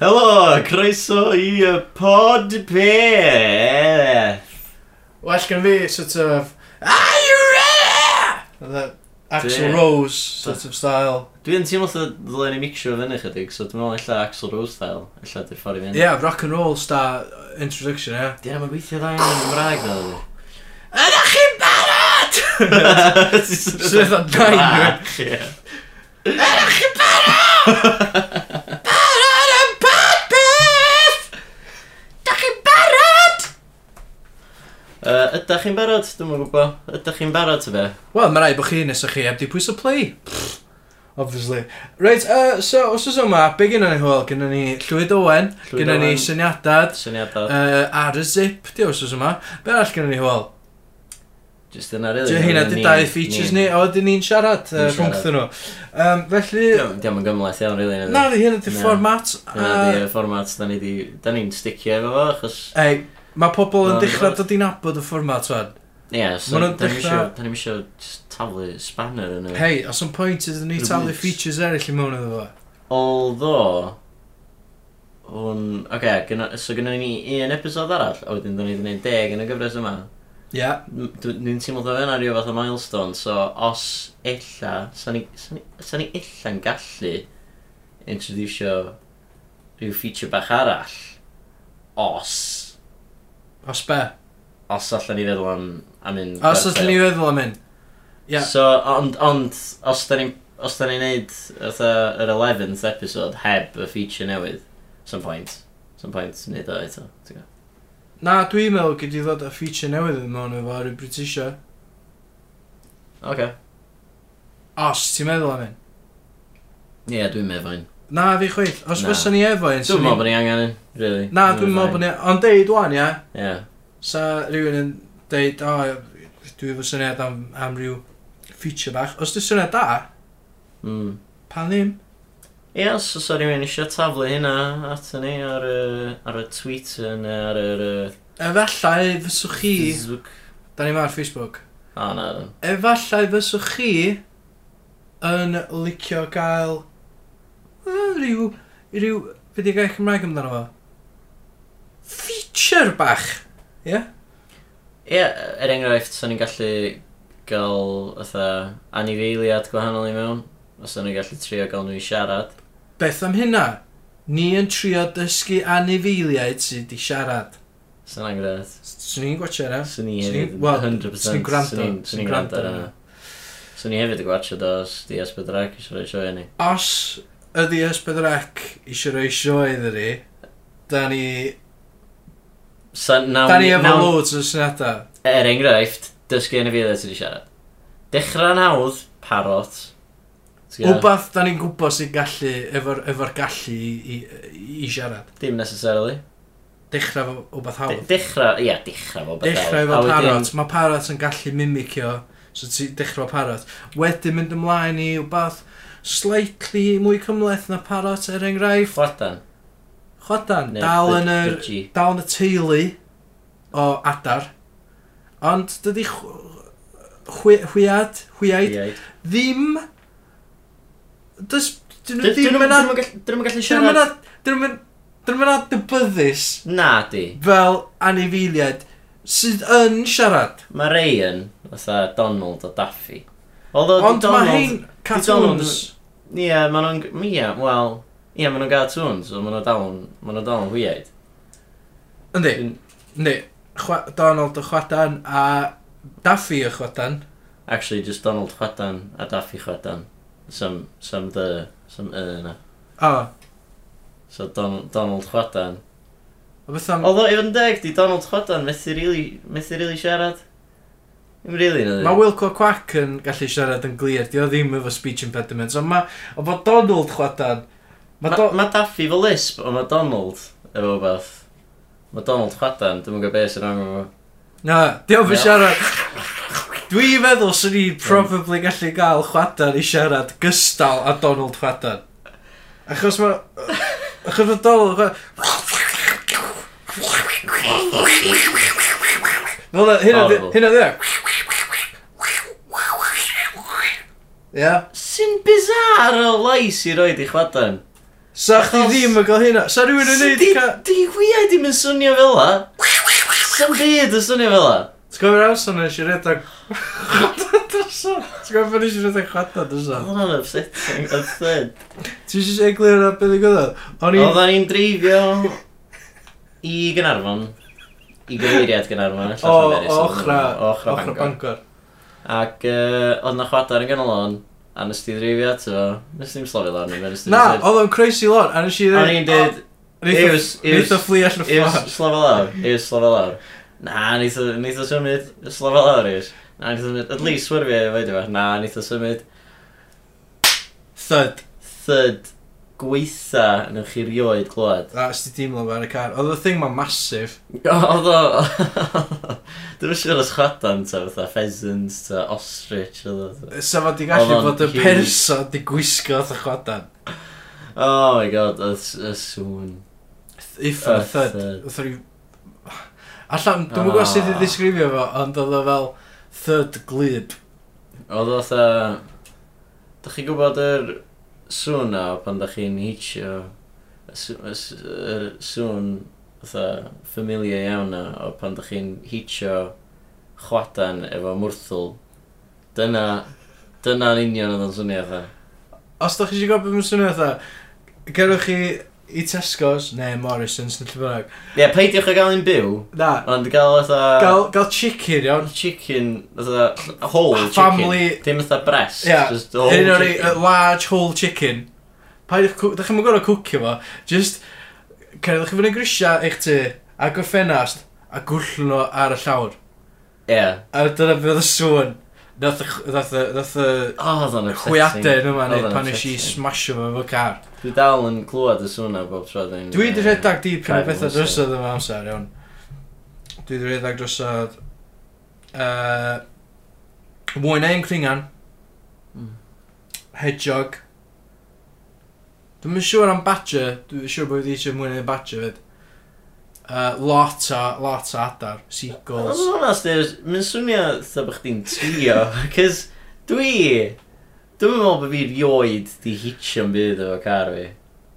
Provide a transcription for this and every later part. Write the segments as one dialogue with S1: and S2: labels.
S1: Helo, croeso i y pod peth.
S2: Well gen fi, sort of, Are you ready? The Axl
S1: Dwi-
S2: Rose sort of style.
S1: Dwi'n teimlo oedd ddylen ni mixio fyny chydig, so dwi'n meddwl illa Axl Rose style, illa dy ffordd i fynd.
S2: Yeah, rock and roll star introduction, ie.
S1: Dyna mae'n gweithio dda iawn yn Gymraeg dda dwi.
S2: Ydych chi'n barod? Sydd o'n nain, Ydych chi'n barod? Barod am bod beth? Ydych chi'n barod?
S1: Ydych chi'n barod? Dwi'n mwyn gwybod. Ydych chi'n barod ty fe?
S2: Wel, mae rai bod chi nes o chi heb di pwys o play. Pfft, Obviously. Right, uh, so, os oes yma, be gynna ni hwyl? Gynna ni Llywyd Owen,
S1: Llywyd
S2: gynna ni
S1: Owen.
S2: syniadad,
S1: Syniadau.
S2: uh, ar y zip, di os oes yma. Be arall gynna ni hwyl?
S1: Just yna rili.
S2: Dy hynna di dau features ni, a wedyn ni'n siarad
S1: Ni'n siarad.
S2: uh, rhwngth nhw. Um, felly,
S1: Diolch yn gymlaeth iawn rili.
S2: na di hynna di
S1: Na.
S2: fformat.
S1: Dyna di y fformat da ni di... Da ni'n sticio efo fo, achos...
S2: Ei, mae pobl
S1: Na,
S2: yn
S1: ni
S2: dechrau
S1: fod.
S2: dod i'n abod y fformat fan.
S1: Ie, so...
S2: Ma' nhw'n
S1: Da ni'n
S2: dechra-
S1: isio... Da ni'n isio jyst taflu spanner yn y...
S2: Hei, os yn pwynt ydyn ni
S1: Rwyt.
S2: talu features eraill i mewn iddo fo.
S1: Although... Hwn... Oce, gynna- so gynna ni un episod arall, a wedyn da ni di gwneud deg yn y gyfres yma.
S2: Ie.
S1: M- dw- Dwi'n teimlo dda fe'n ario fath o milestone, so os illa, sa ni, sa ni, sa ni illa'n gallu introducio rhyw feature bach arall, os,
S2: Os be?
S1: os allan ni feddwl am, am un
S2: Os ydyn ni feddwl am hyn. Ie.
S1: So, ond, ond, os da ni'n os da ni'n neud fatha yr 11th episode heb y feature newydd, some point, some point neud o eto. ti'n gwbo.
S2: Na, dwi'n meddwl gyd i ddod â feature newydd yn mewn efo ar y Britisio.
S1: Oce.
S2: Os, ti'n meddwl am hyn?
S1: Ie, dwi'n meddwl ein.
S2: Na, fi chweith. Os
S1: Na.
S2: fysa ni efo un,
S1: Dwi'n meddwl bod ni angen un, really.
S2: Na, dwi'n meddwl bod ni... Ond deud wan, ia.
S1: Ie. Yeah.
S2: Sa rhywun yn deud, o, dwi efo syniad am, am rhyw feature bach. Os dwi'n syniad da,
S1: Mm.
S2: pan ddim?
S1: Ie, yeah, so sorry rhywun eisiau taflu hynna at ni ar y, ar y Twitter neu ar yr... yy,
S2: Efallai fyswch chi...
S1: Facebook.
S2: Da ni 'ma ar Facebook.
S1: O, na. dyn.
S2: Efallai fyswch chi yn licio gael yy, rhyw... rhyw... Fe di gael Cymraeg amdano fo? Feature bach! Ie? Yeah?
S1: Ie, er enghraifft, sa'n ni'n gallu gael ytha anifeiliad gwahanol i mewn. Os sa'n ni'n gallu trio gael nhw i siarad.
S2: Beth am hynna? Ni yn trio dysgu anifeiliaid sydd wedi siarad.
S1: Sa'n ni'n gwrdd.
S2: Swn i'n gwachio e. hynna.
S1: Sa'n ni
S2: Swn i-
S1: hefyd,
S2: wel,
S1: 100%.
S2: swn i'n gwrando,
S1: swn i'n-
S2: swn
S1: Swn
S2: i'n
S1: i'n gwrando ar
S2: gwrando ar
S1: hynna. Sa'n ni hefyd y gwachio dos, di esbydrac, eisiau rhoi sioe ni.
S2: Os ydi ysbydrec eisiau rhoi sioe iddo ni, da ni...
S1: Sa'n
S2: Da ni efo
S1: nawn...
S2: loads o syniadau.
S1: Er enghraifft, dysgu anifeiliad sydd i siarad. Dechrau'n hawdd, parot. Ti'n gwbo?
S2: Wbath da ni'n gwybod sy'n gallu, efo'r efo gallu i, i, i siarad.
S1: Dim necessarily.
S2: Dechrau efo wbath
S1: De-
S2: hawdd.
S1: Dechrau, ia, dechrau fo bethau.
S2: Dechrau efo parot. Mae parot yn gallu mimicio, so ti dechrau efo parot. Wedyn mynd ymlaen i wbath slightly mwy cymleth na parot er enghraifft.
S1: Chwadan.
S2: Chwadan,
S1: Neu
S2: dal
S1: byd-
S2: yn yr...
S1: bydgi.
S2: Dal yn y teulu o adar. Ond dydy chw- chwi- chwiad, chwiaid,
S1: Iaid.
S2: ddim... Dys... Dyn nhw
S1: Dyn nhw'n
S2: ddim yn ad...
S1: gallu
S2: Dyn nhw'n
S1: siarad...
S2: ad... Dyn nhw'n ad... Dyn nhw'n adnabyddus
S1: Na di.
S2: fel anifeiliad sydd yn siarad.
S1: Mae Ryan, fatha Donald o Daffy. Although
S2: Ond
S1: Ond
S2: mae
S1: Donald...
S2: hein cartoons...
S1: Ie, ma' nhw'n... Ie, wel... Ie, ma' nhw'n cartoons, so ma' nhw dal yn... Ma' nhw dal yn hwyaid.
S2: Yndi,
S1: Dwi'n-
S2: yndi. Chwa- Donald y chwadan a Daffy y chwadan.
S1: Actually, just Donald Chwadan a Daffy Chwadan. Some, some the... Some y na.
S2: O,
S1: So Don, Donald Chwadan.
S2: o beth am...
S1: Although, i fod yn deg, di Donald Chwadan methu rili... Methu rili siarad. Dim rili, na di.
S2: Mae Wilco Quack yn gallu siarad yn glir, di o ddim efo speech impediments, ond mae... O bod Donald chwadan... Mae
S1: Mae
S2: do...
S1: do... ma Daffy fel lisp, ond mae Donald efo beth. Mae Donald chwadan, dwi'n gwybod beth sy'n rong efo.
S2: Na, di o
S1: Ie.
S2: fy siarad... Dwi'n meddwl sy'n ni probably gallu gael chwadan i siarad gystal a Donald chwadan. Achos mae... Achos mae Donald chwadan... Fel na, hynna di...
S1: Horrible.
S2: Hynna di o. Ie?
S1: Sy'n bizar o lais i roed i chwadan.
S2: Sa chdi
S1: Achos-
S2: ddim yn gael hynna? Sa rhywun yn neud
S1: Di,
S2: ca...
S1: di wyau ddim yn swnio fel la. Sam byd yn swnio fel la.
S2: T'w gofio'r aws yna eisiau redag... Dyson! T'w gofio pan eisiau redag chwata dyson?
S1: Oedd hwnna'n upsetting, oedd thyd.
S2: Ti eisiau eglir ar beth i gwybod? O'n i...
S1: Oedden ni'n dreifio i Gynarfon. I gyfeiriad Gynarfon. ella
S2: O,
S1: Llanberis,
S2: o
S1: oedden nhw-
S2: ochra...
S1: o
S2: Ochra
S1: Ochra Bangor.
S2: Bangor.
S1: Ac yy, oedd na chwadar yn ganol o'n. A nes ti dreifio ato. Nes ti'n slofi lan i fe. nes ti'm
S2: Na,
S1: syd.
S2: oedd o'n croesi lot, a nes i
S1: O'n
S2: ddweud...
S1: i'n dweud, Ews, ews,
S2: Neith o fflu allan y
S1: Iws,
S2: fflat.
S1: slofa lawr, iws, slofa lawr. Na, neith o neith o symud, slofa lawr iws. Na, neith o symud, at least wyrfi e fe dyma. Na, neith o symud
S2: Thud.
S1: thyd gweitha yn chi rioed glwad.
S2: A ysdi dimlo fe ar y car. Oedd y thing ma masif.
S1: Oedd o... Dwi'n siŵr os chwadan ta, fatha pheasants ta, ostrich oedd o. fatha.
S2: Sa fo di gallu
S1: Oedd o'n
S2: bod y
S1: huge.
S2: person di gwisgo oedd y chwadan.
S1: Oh my god, oedd s- y sŵn.
S2: Iffa,
S1: Y
S2: thud.
S1: thud.
S2: Oedd rhi... Allan, dwi'n mwyn gwybod sut i
S1: Ah.
S2: ddisgrifio fo, ond oedd o fel thud glib.
S1: Oedd o fatha... Dach chi gwybod yr sŵn na pan dach chi'n hitio y sŵ- y s- yr sŵn fatha familiar iawn na o pan dach chi'n hitio chwadan efo mwrthwl dyna dyna'n union oedd o'n swnio fatha
S2: Os da chi eisiau gwybod beth mae'n swnio fatha, gerwch chi i Tesco's, neu Morrison's, neu lle bynnag.
S1: Ie, yeah, peidiwch ag alun byw
S2: Na,
S1: ond gael fatha
S2: gael, gall chicken, iawn.
S1: chicken fatha whole chicken
S2: Family-
S1: dim fatha breast
S2: Ie,
S1: just whole
S2: Un o'r
S1: chicken.
S2: large whole chicken. Paid i'ch... Da chi'n mynd gorau cwcio fo. Just, cerddwch chi fyny grisiau eich tu, agor ffenast, a gwllw nhw ar y llawr.
S1: Ie, yeah.
S2: A dyna beth oedd y sŵn. Nath y ch- nath y- nath y
S1: oh, oedd o'n
S2: chwiadau yn yma
S1: Oedd
S2: neu
S1: o'n
S2: pan eisiau i
S1: upsetting.
S2: smasho fo efo car.
S1: Dwi dal yn clywed y sŵn na bob tro dwi'n...
S2: Dwi wedi rhedeg di pryn o
S1: Car
S2: bethau
S1: Wilson.
S2: drosodd yma amser, iawn. Dwi wedi rhedeg drosodd... Uh, mwy na un cringan.
S1: Mm.
S2: Hedgehog. Dwi'n mynd siŵr am badger. Dwi'n siŵr bod wedi eisiau mwy na un badger fyd. Uh, lot o, lot o adar.
S1: Os
S2: Seagulls.
S1: yn honest, Dewis, mae'n swnio tha bych chi'n trio, cys dwi... Dwi'n meddwl bod fi rioed di hitio yn byd efo car fi.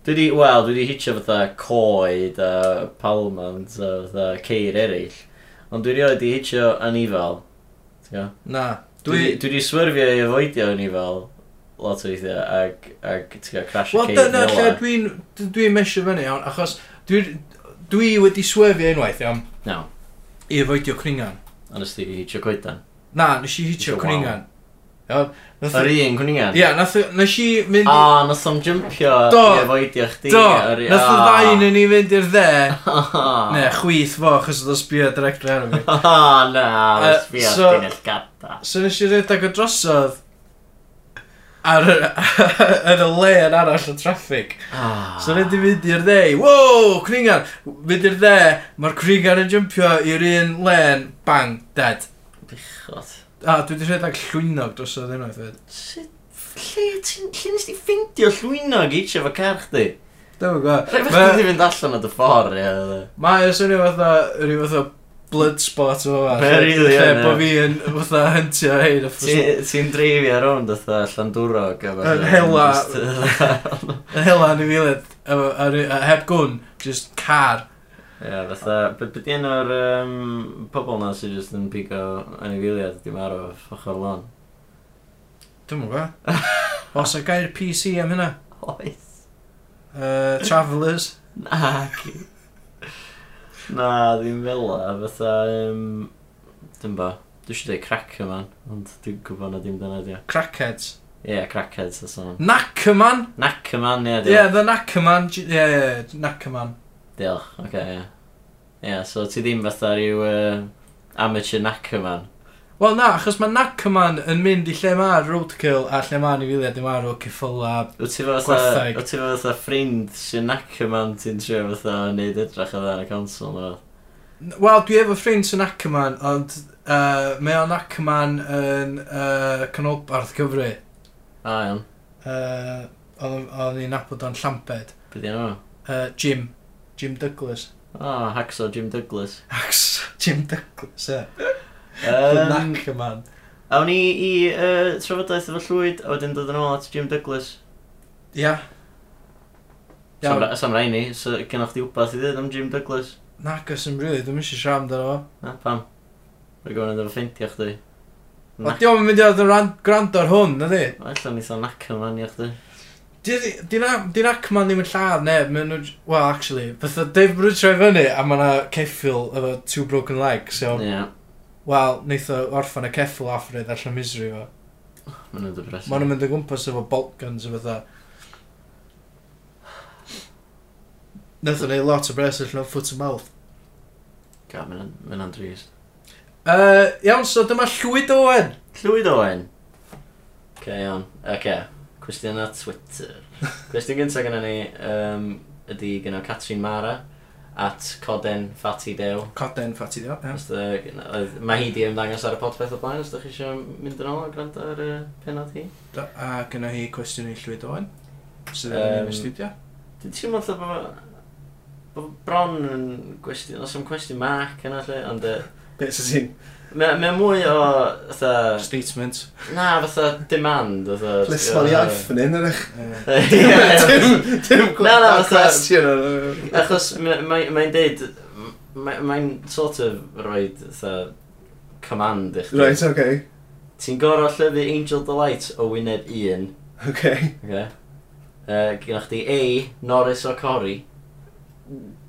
S1: Dwi di, wel, dwi di hitio fatha coed a palmant a fatha ceir eraill. Ond dwi rioed di hitio anifal. T'go?
S2: Na. Dwi...
S1: Dwi, dwi di swyrfio i efoidio anifal lot o weithiau ag, ag ti'n gael crash
S2: Wel,
S1: y ceir
S2: dyna lle dwi'n... d- Dwi'n mesio fyny, iawn, achos... Dwi, dwi wedi swefio unwaith, iawn,
S1: No,
S2: i efoidio cringan.
S1: ond ysdi di hitio coedan.
S2: Na, nes i hitio
S1: Hitio
S2: cwningan. Iawn. Nath-
S1: Yr un cwningan?
S2: Ie, nath y- nes i mynd... i-
S1: A, nath o'n jympio
S2: Do.
S1: i efoidio chdi.
S2: Do,
S1: ar i-
S2: nath y
S1: Ah.
S2: ddau yn ni fynd i'r dde. Ne,
S1: Ne.
S2: chwith fo, achos oedd o sbio direct ar fi.
S1: Na,
S2: Yy,
S1: sbio
S2: so-
S1: so... dinas gada.
S2: So nes i redag o drosodd ar y, yn y le yn arall o traffig. Ah, So nes i fynd i'r dde, i, wow, cwningan, fynd i'r dde, mae'r cwningan yn jympio i'r un len, bang, dead.
S1: Bichod.
S2: A, dwi wedi rhedeg llwynog drosodd unwaith fyd.
S1: Sut... Lle ti'n... Lle nes ti ffeindio llwynog eich efo car chdi?
S2: Dwi'n
S1: Rhaid
S2: gwybod.
S1: fach chdi fynd allan o dy ffordd, ie. oedd e.
S2: Mae o'n swnio fatha, rhyw fatha blood spot o fa.
S1: Mae o rili yn,
S2: Lle
S1: ie.
S2: bod fi yn fatha hentio hyn.
S1: Ti- Ti'n dreifio rownd oedd Llandwrog a fatha-
S2: Yn hela.
S1: Jyst, yy,
S2: Yn hela yn i filed, efo- ar y- a heb gwn, just car.
S1: Ie, fatha, beth beth un o'r um, pobol na sydd jyst yn pigo anifiliad di marw ochr lon?
S2: Dwi'n mwyn gwa. Os y gair PC am hynna.
S1: Oes.
S2: Uh, Travellers.
S1: Na, ci. Na, ddim fela, fatha, um, dim bo. Dwi eisiau dweud cracker man, ond dwi'n gwybod na dim dyna di. Ie,
S2: Crackheads.
S1: yeah, crackheads a son.
S2: Knackerman.
S1: Nacker man, ie,
S2: Ie,
S1: diolch.
S2: yeah, the Knackerman. J- Ie, yeah, Knackerman.
S1: Diolch, oce, okay, ie. Ie, so ti ddim fatha rhyw uh, amateur nacker man.
S2: Wel na, achos mae Knackerman yn mynd i lle mae'r roadkill a lle mae'n i filiad i marw ceffyla.
S1: Wyt ti fo fatha,
S2: Gwerthag.
S1: wyt ti fo fatha ffrind sy'n nacker man ti'n trio fatha neud edrych o dda'n y consol neu fath?
S2: Wel, dwi efo ffrind sy'n Ackerman, ond uh, mae o'n Ackerman yn uh, canolbarth Cymru.
S1: A, iawn.
S2: Uh, Oedd ni'n nabod o'n Llamped.
S1: Be di nhw?
S2: Uh, Jim. Jim Douglas.
S1: O, Hacksaw Jim Douglas.
S2: Acs, Jim Douglas, e. Um,
S1: Yym,
S2: Ackerman.
S1: Awn ni i uh, trafodaeth efo llwyd, a wedyn dod yn ôl at Jim Douglas.
S2: Ia. Iawn.
S1: Sam rai ni, so gennych chi wbeth i ddweud am Jim Douglas.
S2: Nac os yn rili, dwi'n eisiau siarad amdano fo.
S1: Na, pam? Rwy'n gwybod yn efo ffeindio chdi.
S2: O, diolch yn mynd i oedd yn ran- gwrando ar hwn, ydy?
S1: Alla ni tho'n nac yn rannu chdi.
S2: Di'n acman ddim yn lladd neb, mae nhw... j- Well, actually, fatha Dave Bruce roi fyny a mae yna ceffil efo two broken legs, so...
S1: Ie,
S2: Wel, neith o orffan y ceffil afryd allan misery fo.
S1: ma'n yn
S2: Mae
S1: depressing.
S2: nhw'n mynd o gwmpas efo bolt guns o fatha. Nath o neud lot o bres allan o foot and mouth.
S1: Ga, ma'n yn drist.
S2: Uh, iawn, so dyma llwyd Owen.
S1: Llywyd Owen. Ce, iawn. Oce, cwestiwn ar Twitter. Cwestiwn gyntaf gyda ni um, ydy gyda Catrin Mara at Coden Fatty Dew.
S2: Coden ffati dio.
S1: Os dy- gyna- oedd- Mae hi di ymddangos ar y podpeth o blaen, os ydych chi eisiau mynd yn ôl a gwrando ar y penod hi.
S2: A gyna hi cwestiwn i llwyd Owen. Sydd
S1: Yym,
S2: yn um, studio.
S1: Dwi'n teimlo fatha bod bo bron yn gwestiwn, os am cwestiwn mark yna lle, ond yy,
S2: Beth sy'n
S1: mae mae mwy o, fatha,
S2: statement.
S1: na, fatha demand, fatha...
S3: Lesbol iaith yn un, ydych?
S2: Yy,
S1: Ie.
S3: Dim
S1: Na, na,
S3: gwybod
S1: fatha-
S3: cwestiwn ar
S1: Achos mae'n ma, ma deud, mae'n ma mae'n sort of roed tha, command i chdi.
S3: Right, oce.
S1: Ti'n gorau llyfu Angel Delight o wyneb un.
S3: Oce.
S1: Okay. Uh, Gynnwch chdi A, Norris o Cori.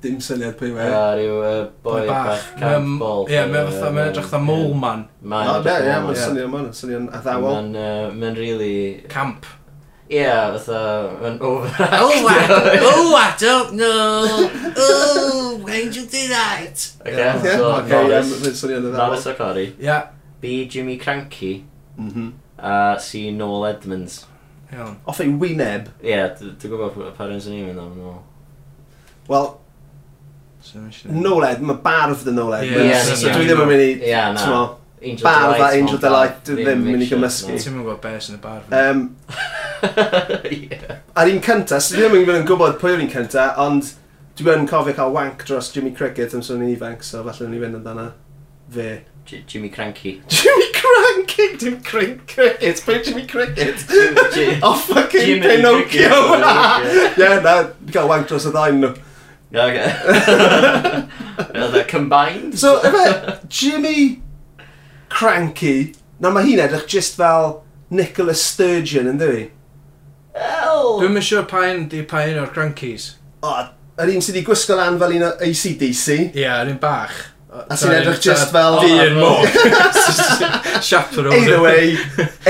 S3: Dim syniad pwy
S1: A
S3: we.
S1: rhyw uh, boi bach
S2: Mae'n-
S1: campball.
S2: Ie, mae'n fatha, mae'n edrych fatha mole man.
S1: Mae'n
S3: O, ne, ie, Ah, mae'n
S2: ie.
S3: syniad ma'n syniad addawol.
S1: Mae'n uh, mae'n really...
S2: Camp.
S1: Ie, yeah, fatha, mae'n overactio.
S2: Oh I don't know. Oh, Angel Delight.
S1: Okay,
S3: Ie,
S1: so
S3: oce, ie,
S1: Norris,
S3: mae'n syniad
S1: Norris
S3: addawol.
S1: o Cori.
S2: Ia,
S1: B, Jimmy Cranky.
S3: Mhm.
S1: A C, Noel Edmonds.
S2: iawn.
S3: Off ei wyneb.
S1: Ie, yeah, dwi'n gwybod pwy pa rhan sy'n ni'n mynd am nhw.
S3: Wel,
S2: So, mae'n siŵr.
S3: Noled, mae barf dy Noled.
S2: Ie,
S3: Mae'n-
S2: ie,
S3: so
S2: ie.
S3: Dwi ddim yn mynd i...
S1: Ie, na.
S3: t'mo,
S1: Angel
S3: barf a
S1: Delight,
S3: Angel
S1: ond
S3: Delight, dwi
S1: ddim
S3: ddim yn mynd i
S1: mixed,
S3: gymysgu.
S2: Ti'n mynd gwybod beth yn y bar.
S3: Yym,
S1: Ie.
S3: Ar un cynta, so dwi ddim yn mynd yn gwybod pwy o'r un cynta, ond dwi yn cofio cael wank dros Jimmy Cricket am sôn i'n ifanc, so falle ni fynd amdana fe.
S1: J- Jimmy Cranky.
S3: Jimmy Cricket, dim Cric- Cricket, pwy Jimmy Cricket?
S1: Jim-
S3: O fucking
S1: Jimmy Cricket,
S3: Pinocchio!
S1: Pinocchio.
S3: Ie, na, dwi cael wank dros y ddain nhw.
S1: Okay. Oedd e combined?
S3: So, efe, Jimmy Cranky, na mae hi'n edrych just fel Nicola Sturgeon, yn dwi?
S1: Wel!
S2: Dwi'n mynd siŵr pa un di pa un o'r crankies.
S3: O, yr un sydd wedi gwisgo lan fel un o ACDC.
S2: Ie, yr un bach.
S3: A sy'n edrych just fel...
S2: Dyn môr. Chaperone.
S3: Either way,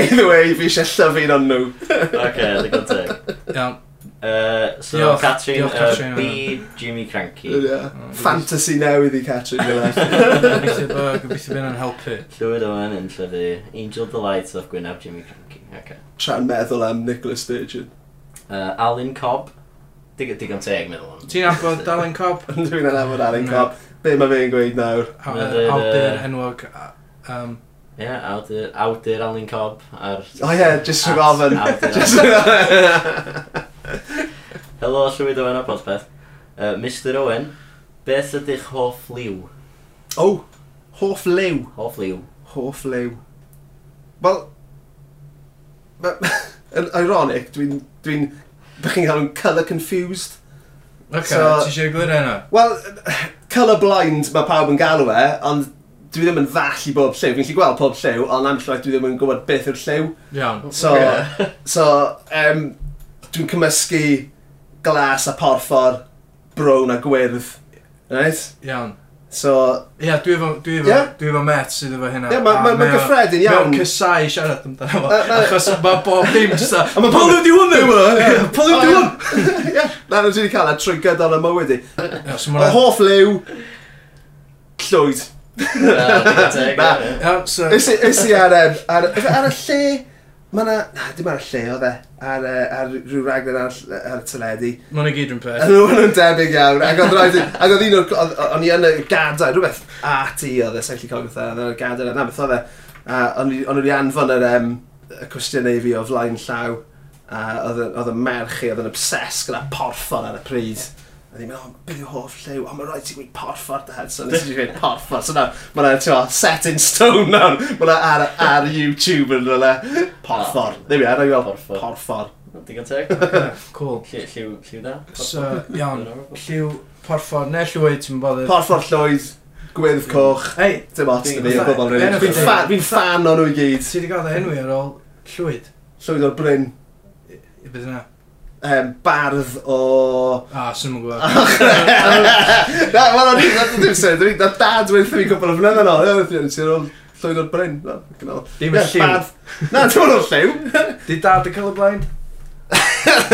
S3: either way, fi eisiau llyfu'n ond nhw.
S1: Oce, ddigon teg.
S2: Iawn.
S1: Yy, Uh, So,
S2: Diolch,
S1: Catrin,
S2: diolch, Catrin,
S1: yy, B, Jimmy Cranky.
S3: Ie. Fantasy newydd i Catrin gyda.
S2: Gobeithio bod- gobeithio bod yn helpu.
S1: Llywyd Owen yn llyfu Angel Delight off Gwynaf Jimmy Cranky. Oce.
S3: Tra'n meddwl am Nicola Sturgeon.
S1: Yy, Uh, Alan Cobb. Dig- Digon teg, meddwl am.
S2: Ti'n abod Dalen Cobb?
S3: Ond Dwi'n yn amod Alan
S2: Na.
S3: Cobb. Be mae fe'n gweud nawr?
S2: Aw-
S1: Mae'n deud,
S2: Awdur
S1: yy,
S2: enwog. a- yym,
S1: Ie, awdur, awdur Alan Cobb ar...
S3: O ie, jyst rhywbeth ofyn.
S1: Awdur Alan
S3: Jyst rhywbeth ofyn.
S1: Helo, Llywyd Owen a Podpeth. Uh, Mr Owen, beth ydych hoff liw?
S3: O, Oh, hoff liw.
S1: Hoff liw.
S3: Hoff liw. Wel, ma- yn ironic, dwi'n... dwi'n Bych chi'n cael yn colour confused.
S2: Oce,
S3: So-
S2: ti eisiau gwyr hynna?
S3: Wel, colour blind mae pawb yn galw e, ond dwi ddim yn ddall i bob lliw. Fi'n gallu gweld pob lliw, ond am llwaith dwi ddim yn gwybod beth yw'r lliw.
S2: Iawn.
S3: So, so um, dwi'n cymysgu glas a porffor, brown a gwyrdd. Right?
S2: Iawn.
S3: So,
S2: Ia, dwi efo, dwi efo,
S3: Ie?
S2: dwi efo met sydd efo hynna.
S3: Ie, ma-
S2: A
S3: ma- ma'n
S2: mae o-
S3: gyffredin iawn.
S2: Mae o'n cysau siarad amdano fo.
S3: Yy, na-
S2: Achos mae bob dim just a...
S3: A ma'
S2: Pull him diwn ddim!
S3: Ie.
S2: Pull him
S3: O,
S2: diwn!
S3: ie, na, dwi wedi cael e trwy gydol y mywyd i.
S2: Ia, so
S3: Y
S2: mae'n...
S3: hoff liw, llwyd. Na.
S1: Ie,
S2: Ia, so...
S3: Ys i- ys i ar, yym, ar, ife ar y lle, mae yna, na, dim ar y lle oedd e, ar, yy, ar rhyw raglen ar, ar y teledu.
S2: Mae'n i gyd yn peth.
S3: Yn nhw'n nhw'n debyg iawn, ac oedd rhaid i, ac oedd un o'r, oedd- o'n i yn y gadair, rhywbeth a ti oedd e, sai'n lli cofio bethau, oedd e'n y gadair, na beth oedd e, a o'n i o'n i wedi anfon yr um, y cwestiynau i fi o flaen llaw, a oedd y- oedd y merch i, oedd yn obses gyda porffor ar y pryd. A ddim yn meddwl, beth yw hoff lliw? O, mae'n rhaid ti gweud porffor dad, so nes i gweud porffor. So na, mae'n ma set in stone nawr. Mae'n ar, ar YouTube yn rhywle. Porffor. Ddim i ar, rhaid i weld
S1: Porffor.
S3: porffor.
S1: digon teg.
S2: Cool.
S1: Lliw, lliw, lliw da.
S2: So, iawn. Lliw porffor, neu llwyd, ti'n bothered.
S3: Porffor llwyd, gwyrdd coch,
S2: Hei,
S3: dim ots
S1: Dwi'n-
S3: yn ei o bobl
S2: Dwi'n-
S3: rydyn. Fi'n fan, fi'n fan o'n nhw i gyd.
S2: ti wedi gael dda enwi ar ôl llwyd?
S3: Llwyd o'r Bryn,
S2: I beth yna? Ah,
S3: em, bardd o...
S2: A, sy'n mwyn gwybod.
S3: Na, mae'n o'n i, nath ddim sy'n, dwi'n na dad wedi fi cwpl o fnedd yn ôl, ie, dwi'n sy'n ôl llwyd o'r Bryn. Na, gynnal.
S2: Dim yn
S3: Ie,
S2: lliw.
S3: bardd. Na, dim ond o'r lliw.
S2: Di dad y cael y blaen?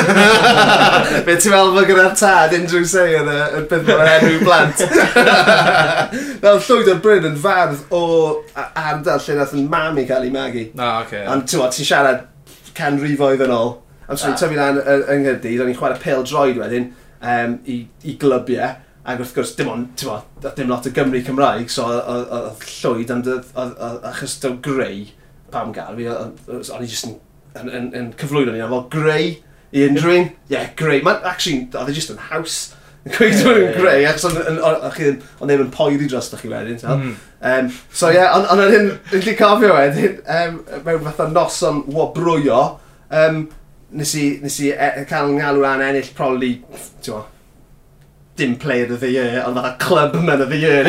S3: Be ti'n meddwl fod gyda'r tad unrhyw se yn y yn bydd o'r enw i blant? Fel llwyd o'r Bryn yn fardd o a- ardal lle nath yn mam i cael ei magu.
S2: Na, oce.
S3: Ond ti'n meddwl, ti'n siarad canrifoedd yn ôl. Am sy'n
S1: Ah.
S3: tyfu lan y- yng Nghyrdydd, o'n i'n chwarae pel droed wedyn um, i, i glybiau. Ac wrth gwrs, dim ond, ti'n meddwl, doedd dim lot o Gymru Cymraeg, so o- o- o- oedd llwyd am dy- oedd- oedd- achos dyw greu pam gael fi, o'n o'n i jyst yn, yn, yn, yn cyflwyno ni, fel greu i unrhyw un. Ie, greu. Mae'n, actually, oedd e jyst yn haws. Yn gweud
S1: Ie,
S3: yn
S1: ie.
S3: greu, achos o'n- o'n- o'n o'ch chi ddim- o'n neb yn poeri dros chi wedyn, ti'n meddwl?
S2: Mm.
S3: Um, so ie, yeah, ond on yr hyn, yn lli cofio wedyn, um, mewn fatha noson wobrwyo, um, nes i, nes i e, e- cael ngalw ran ennill probably, ti'n mo, dim player of the year, ond fatha club man of the year.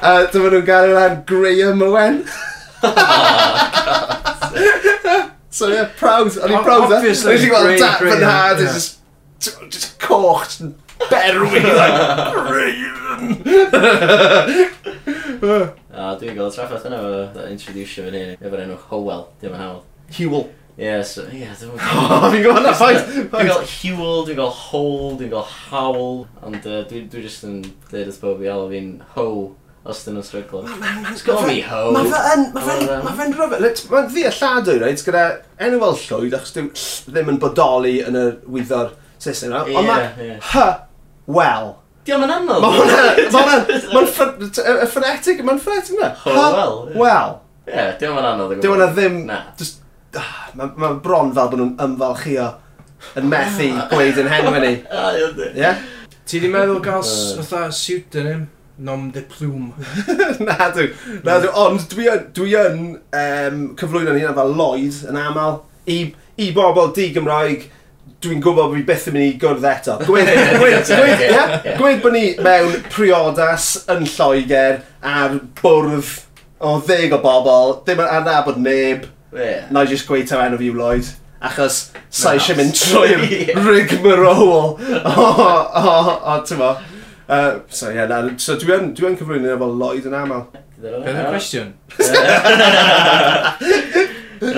S3: A dyma nhw'n galw ran Graham Owen.
S2: Oh,
S3: so ie, yeah, proud, o'n i'n
S2: O-
S3: proud. eh?
S2: obviously,
S3: O'n i'n gweld
S2: Graham,
S3: dat fy
S2: Graham,
S3: nhad,
S2: ie.
S3: it's just, t'mo, just coch, just berwi, like, Graham.
S1: A dwi'n gael traffaeth yna fo introducio fan hyn efo'r enw Howell, dim yn hawdd.
S3: Hewell.
S1: Ie, so, ie, dwi'n
S3: O, fi'n gwybod na ffaith!
S1: Dwi'n gael Hewell, dwi'n gael Hole, dwi'n gael Howl, ond uh, dwi'n dwi just yn dweud wrth bob i alw fi'n Ho, os dyn nhw'n stryglo. It's got me Ho.
S3: Mae fe yn, mae fe'n,
S1: Wel, yym.
S3: mae fe'n rhyfedd. Mae'n ddi a lladw, reit, gyda enw fel llwyd, achos dyw ll- ddim yn bodoli yn y wyddor Saesneg. yna. Ond mae
S1: Ie, ie.
S3: hy, wel.
S1: Diolch yn anodd.
S3: Mae hwnna, mae hwnna, mae'n ffr- y- y ffonetig, mae'n ffonetig yna.
S1: Hy, wel, ie.
S3: wel.
S1: Ie, diolch yn anodd. o gwbl.
S3: Dyw hwnna ddim,
S1: Na.
S3: just, mae'n bron fel bod nhw'n ymfalchio yn methu gweud yn henwy ni.
S1: A, ie, yndi.
S3: Ie?
S2: Ti di meddwl gael s-
S1: Yy.
S2: fatha pseudonym? Nom de plume.
S3: Na dw, na dw, ond dwi yn, dwi yn um, cyflwyno ni yna fel Lloyd yn aml i, i bobl di Gymraeg dwi'n gwybod bod fi byth yn mynd i gwrdd eto. Gweud, gweud, gweud,
S1: Ie,
S3: yeah?
S1: ie.
S3: gweud bod ni mewn priodas yn Lloegr ar bwrdd o ddeg o bobl, ddim yn adnabod neb,
S1: Ie.
S3: na i jyst gweud taw enw fi yw Lloyd. Achos
S1: Na.
S3: sa eisiau mynd trwy'r
S1: Ie.
S3: rigmarole o, o, o, ti'n mo. Uh, so ie, yeah, so dwi yn, dwi yn cyflwyno ni efo Lloyd yn aml.
S2: Beth yw'r cwestiwn?
S1: Yy,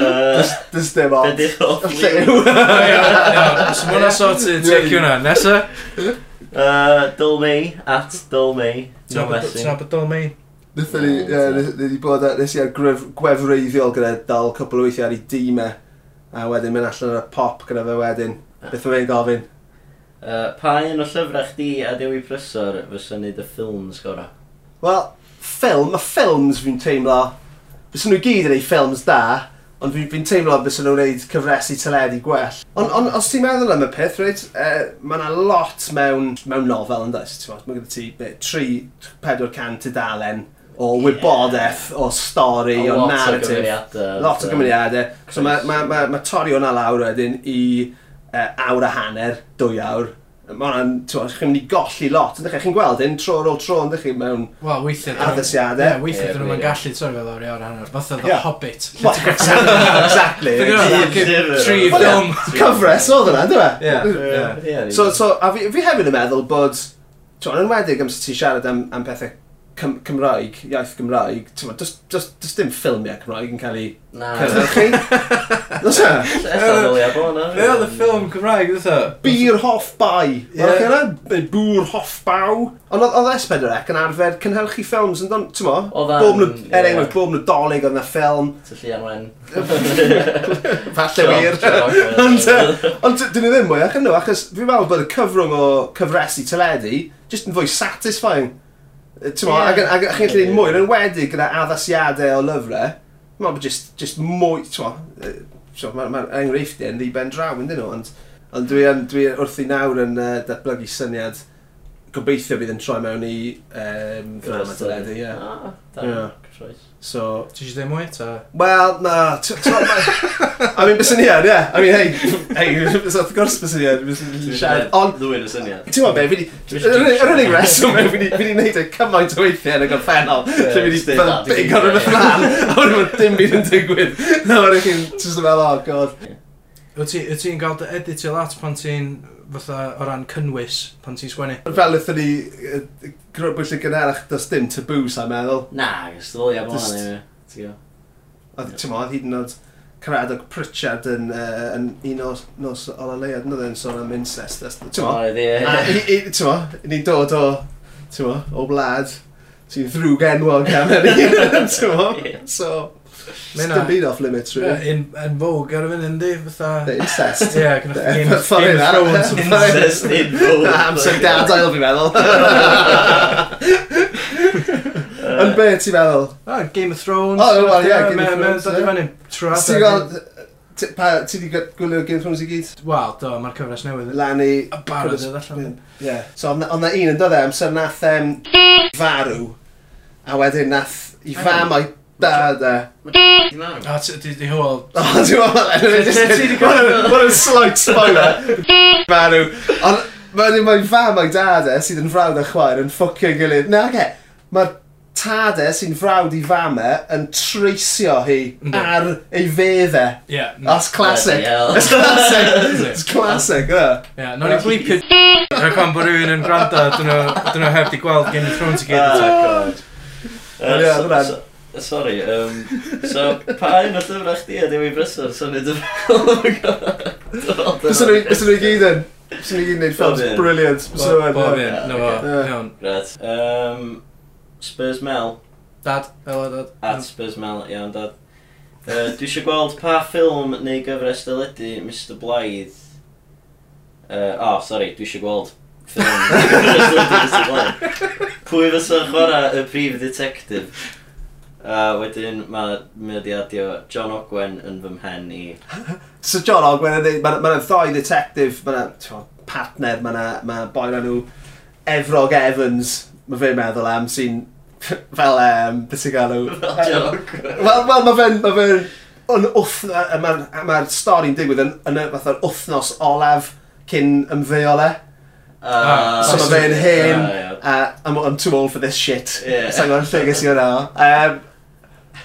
S3: Does dim
S1: Be
S3: ond.
S1: di'ch hoff liw?
S3: Lliw.
S2: So mae hwnna sorted, take hwnna. Nesa?
S1: Yy, Dolmei, at Dolmei. No messing.
S2: Tra bod dolmein.
S3: Nethon ni, ie, nes- ni wedi bod ar, nes i ar gref, gwefreiddiol gyda dal cwpl o weithiau ar ei dîm e. A wedyn mynd allan ar y pop gyda fe wedyn. Beth o'n i'n gofyn?
S1: Yy, pa un o llyfrau chdi a Dewi Prysor fysa wneud y ffilms gora?
S3: Wel, ffilm, mae ffilms fi'n teimlo, bys nhw gyd yn ei ffilms da, ond fi'n fi teimlo bys nhw'n gwneud cyfresu teledu gwell. Ond on, os ti'n meddwl am y peth, reit, uh, mae yna lot mewn, mewn nofel yn dweud, ti'n meddwl, mae gyda ti be, 3-400 tudalen o wybodaeth, o stori, o, narrative. Lot o
S1: uh,
S3: gymeriadau. So mae ma, ma, ma torri hwnna lawr wedyn i uh, awr a hanner, dwy awr. Mae hwnna'n, ti'n chi'n mynd i golli lot. Ydych chi'n gweld hyn tro ar ôl tro, ydych chi mewn...
S2: Wel, weithiau... dyn nhw-
S3: Addasiadau.
S2: Ie, weithiau
S1: Ie,
S2: dyn nhw'n
S1: wir.
S2: gallu torri fel awr i awr a hanner. Fatha The
S3: Ie.
S2: Hobbit.
S3: Well, exactly.
S2: Dwi'n gwybod,
S1: Ie,
S2: fucking
S1: ie.
S2: tri
S1: Wel, ie.
S2: ffilm.
S3: Cyfres oedd hwnna, dwi'n
S2: Ie.
S3: So, so, a fi, fi hefyd yn meddwl bod, ti'n enwedig amser ti siarad am, am pethau Cym Cymraeg, iaith Gymraeg, ti'n meddwl, does dim ffilmiau Cymraeg yn cael ei
S1: Na,
S3: cyrraedd chi. Does e?
S1: eithaf ddylia bo na.
S2: Be oedd y ffilm Cymraeg, dwi'n
S3: Bir hoff
S2: Ie.
S3: bai. Yeah. Mae'n rhaid bŵr hoff baw. Ond oedd- oedd S4C yn arfer cynhyrchu ffilms yn don, ti'n mo?
S1: Oedd
S3: Bob nhw,
S1: yn-
S3: er
S1: ie.
S3: enghraifft, bob nhw dolyg oedd na ffilm.
S1: Tyllu anwen.
S3: Falle wir. Ond, yy, Ond d- dyn nhw ddim mwy ac yn nhw, achos fi'n meddwl bod y cyfrwng o cyfresu teledu just yn fwy satisfying. Yy, Ti'n mo,
S1: Ie.
S3: ac yn- ac yn- ac yn gallu
S1: Ie.
S3: gwneud mwy, yn enwedig gyda addasiadau o lyfrau. Ti'n mo, bod just, just mwy, ti'n mo, yy, so mae'r ma enghreifftiau yn ddi ben draw yn dyn nhw, ond, ond dwi, yn, dwi wrth i nawr yn uh, datblygu syniad gobeithio bydd yn troi mewn i um, ffilm a teledu, ie.
S1: Ah,
S3: Ie.
S1: da, good choice.
S3: So,
S2: Ti eisiau dweud mwy ta?
S3: Wel, na, t- t- ma- I mean, bys ni yn, ie. I mean, hey, hey, so, wrth gwrs bys ni yn, bys ni'n siarad. Ond,
S1: Ddwy'n y syniad.
S3: ti'n gwybod be, fi di,
S1: Dwi'n
S3: yr unig- yr unig
S1: siarad.
S3: reswm yw, fi di- fi di wneud e cymaint o weithiau yn y gorffennol,
S1: Ie,
S3: lle fi di
S1: stay
S3: fel
S1: that,
S3: big
S1: dwi'n
S3: ar y
S1: gwybod, ie.
S3: fflan, a wedi bod dim byd yn digwydd. Na, wedi chi'n just yn fel, oh, god.
S2: Wyt ti- wyt ti'n cael dy editio lot pan ti'n fatha o ran cynnwys pan ti'n sgwennu?
S3: Fel wrth ni, yy, gro- bwysig gynharach, does dim tabw, sa'n meddwl.
S1: Na, gysdoliad mlaen
S3: Just-
S1: anyway. Ti'n gwbo?
S3: Oedd, ti'n modd, hyd yn oed Caradog Pritchard yn, uh, yn un o nos o la lead, nid yn sôn am incest. that's- Ti'n modd?
S1: Oedd, ie.
S3: A i- i- T'mo, ni'n dod o, t'mo, o wlad sy'n ddrwg enwog am hynny, t'mo.
S1: Ie.
S3: So,
S2: Mae
S3: dim
S2: hynna-
S3: byd off limits, really.
S2: Yn yn vogue ar y funud, yndi?
S3: The
S2: Fatha...
S3: incest.
S2: Ie, gynnwch
S3: Ie,
S2: chi Game of
S3: sorry,
S2: Game
S3: na.
S2: of Thrones. yn
S3: Sorry.
S2: fan'na.
S1: Incest in vogue.
S3: Amser gadael, fi'n meddwl. Yn be, ti'n meddwl?
S2: Ah, Game of Thrones.
S3: O, wel, ie, Game of
S2: Mae- mae-
S3: Thrones,
S2: dod i
S3: ie.
S2: fyny trwy
S3: Ti'n
S2: adeg.
S3: gweld, ti- pa- ti 'di gy- gwylio Game of Thrones i gyd?
S2: Wel, do, mae'r cyfres newydd. yn-
S3: Lani...
S2: A barod oedd allan.
S3: Ie. So, ond ond na un yn dod e, amser nath em farw, a wedyn nath i fam o'i dad e.
S1: Na.
S2: A ti di hwyl.
S3: O, ti'n gwybod, anyway, just...
S2: Ti- ti 'di
S3: What a- what a slight spoiler. Farw. Ond, mae'n mae'n fam o'i dad e, sydd yn frawd a chwaer, yn ffwcio gilydd. Na, ge, mae'r tad e sy'n frawd i fam e yn treisio hi
S2: Yndi.
S3: ar ei fedd e.
S2: Ie.
S3: That's classic.
S1: Bloody hell.
S3: That's classic. It's classic, yna.
S2: Ie, nawn ni blipio. Rwy'n pan bod rhywun yn gwrando, dyn nhw- dyn nhw heb di gweld Game of Thrones i gyd. eto.
S1: Ah,
S3: Ond
S1: God.
S3: ie, hwnna'n-
S1: So- so- Sorry, um, so pa un o llyfrau chdi a ddim i brysor syniad y fel?
S3: Bys nhw i gyd yn. Bys nhw i gyd yn neud ffilms.
S1: Bob un.
S3: Brilliant. Bys nhw
S2: Bob- Bob un,
S3: yn.
S2: na fo,
S3: Ie.
S2: iawn.
S1: Gret. Um, Spurs Mel,
S2: Dad, helo, dad.
S1: at Spurs Mel, iawn dad. Uh, dwi eisiau gweld pa ffilm neu gyfres dyledu Mr Blythe. Uh, oh, sorry, dwi eisiau gweld ffilm neu gyfres dyledu Mr Blythe. Pwy fysa chwarae y prif detective? A wedyn mae mediadio John Ogwen yn fy mhen i.
S3: So John Ogwen yn neud, mae'n ma ddoi detective, mae'n partner, mae'n ma boi na nhw Efrog Evans, mae fe'n meddwl am, sy'n fel, um, beth sy'n galw?
S1: John Ogwen.
S3: Wel, wel mae fe'n, mae fe'n, yn wthnos, mae'r ma stori'n digwydd yn, yn y fatha'r wthnos olaf cyn ymddeol e.
S1: Ah,
S3: So mae fe'n hen,
S1: Ah, ia.
S3: a I'm, I'm too old for this shit.
S1: Ie.
S3: Sa'n gwybod lle ges i hwnna. Um,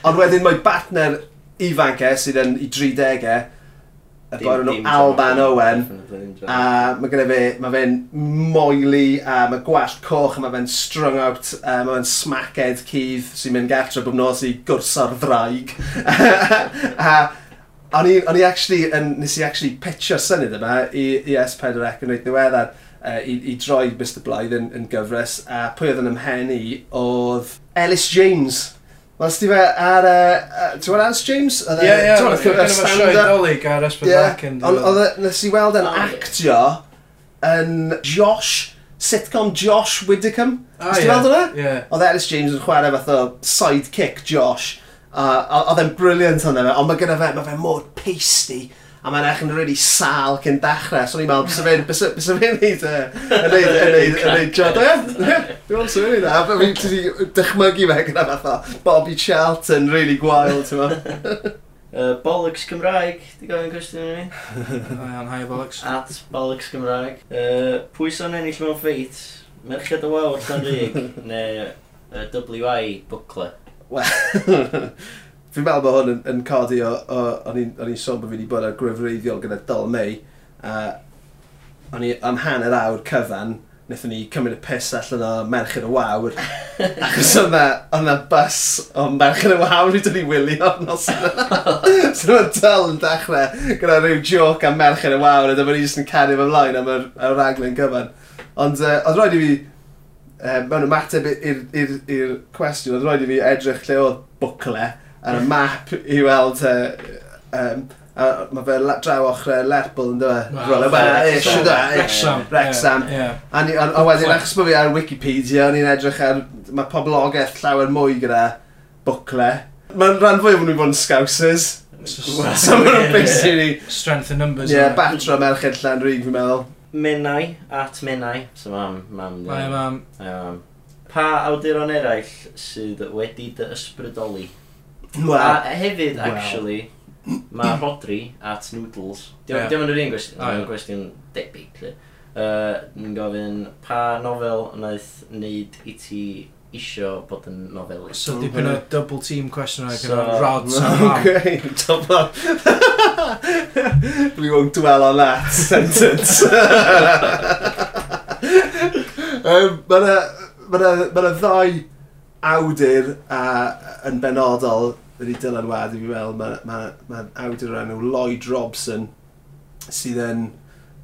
S3: ond wedyn mae partner ifanc e sydd yn i 30au, y
S1: Dim-
S3: boi nhw
S1: dim John
S3: Alban Owen,
S1: Definitely ddim John
S3: a mae gynnu fe, mae fe'n moeli, a mae gwallt coch, a mae fe'n strung out, a mae fe'n smaced cydd sy'n mynd gartre bob nos i gwrso'r ddraig. a o'n i, o'n i actually, yn, nes i actually pitchio'r syniad yma i, i S4C yn reit ddiweddar uh, i, i droi Mr Blythe yn, yn gyfres, a pwy oedd yn ymhen i oedd Ellis James. Wel, sti fe ar... Uh, ti'n gwybod Ellis James? Oedd e-
S2: Ie, ie,
S3: ti'n gwbod,
S2: oedd e gynna fo sioe
S3: stand-up-
S2: dolyg ar Esbyd Black yn...
S3: Ond oedd e- nes i weld yn
S1: O, ie.
S3: actio yn Josh, sitcom Josh Widdicombe.
S2: Ah,
S3: Nes ti
S2: ie,
S3: weld hwnna?
S2: Ie.
S3: Oedd Ellis James yn chwarae fath o sidekick Josh. A- a- Oedd e'n briliant hwnna fe, ond mae gyda fe, mae fe mor pasty. A mae'n eich yn really sal cyn dechrau, so ni'n meddwl, bys y fe'n, bys y fe'n neud, yy, yn neud, yn neud, yn neud job, ie, ie, dwi'n meddwl sy'n neud, e. a fi'n ti di dychmygu fe gyda fatha Bobby Charlton, really gwael, ti'n meddwl.
S1: Uh, bollocks Cymraeg, di gofyn cwestiwn i ni.
S2: Iawn, hi, Bollocks.
S1: At bollocks Cymraeg. Uh, pwy sy'n ennill mewn ffeit? Merched y Wawr Llanrig neu uh, WI Bwcle?
S3: Wel, fi'n meddwl bod hwn yn, yn codi o, o o'n i'n o'n i'n sôn bod fi wedi bod ar gryfreiddiol gyda Dyl May, a o'n i am hanner awr cyfan, wnaethon ni cymryd y piss allan o Merched y Wawr, achos oedd na, oedd na bus o Merched y Wawr i dyn ni wylio nos yna. so mae Dyl yn dechrau gyda rhyw joc am Merched y Wawr, a dyma ni jyst yn cario fy mlaen am yr, yr raglen gyfan. Ond uh, oedd rhaid i fi Yy, mewn ymateb i- i'r- i'r i'r cwestiwn, oedd rhaid i fi edrych lle oedd bwcle ar y map i weld... Uh, um, a mae fe la- draw ochr Lerpwl yn dweud.
S2: Wel,
S3: Rola, wel, e,
S1: Wrexham.
S3: siwr da, e.
S2: Wrexham.
S3: Wrexham.
S2: Ie, ie.
S3: A ni- a- a wedyn, achos bod fi ar Wikipedia, o'n i'n edrych ar... Mae poblogaeth llawer mwy gyda bwcle. Mae'n rhan fwy o nhw'n bod yn scousers.
S2: It's
S3: So mae'n basically...
S2: just Strength in numbers.
S3: Ie,
S2: innit?
S3: batro merched llan rhywun, fi'n meddwl.
S1: Minnau, at Minnau, so mam, mam. di.
S2: Mae mam.
S1: Mae mam. Pa awduron eraill sydd wedi dy ysbrydoli?
S3: Wel,
S1: A hefyd,
S3: Wel.
S1: actually, mae Rodri at Noodles.
S2: Ie.
S1: Diolch yn yr un gwestiwn,
S2: O,
S1: oh,
S2: ie.
S1: gwestiwn debyg. 'lly. Yy, Yn uh, gofyn, pa nofel wnaeth wneud i ti isio bod yn nofelus?
S2: So dipyn o double team question o'r
S1: So-
S2: gyda rods a mam.
S3: Okay, top on. we won't dwell on that sentence. um, Mae yna ma 'na- ma 'na ddau awdur a, yn benodol wedi dylanwadu fi fel mae ma, ma awdur o'r enw Lloyd Robson sydd yn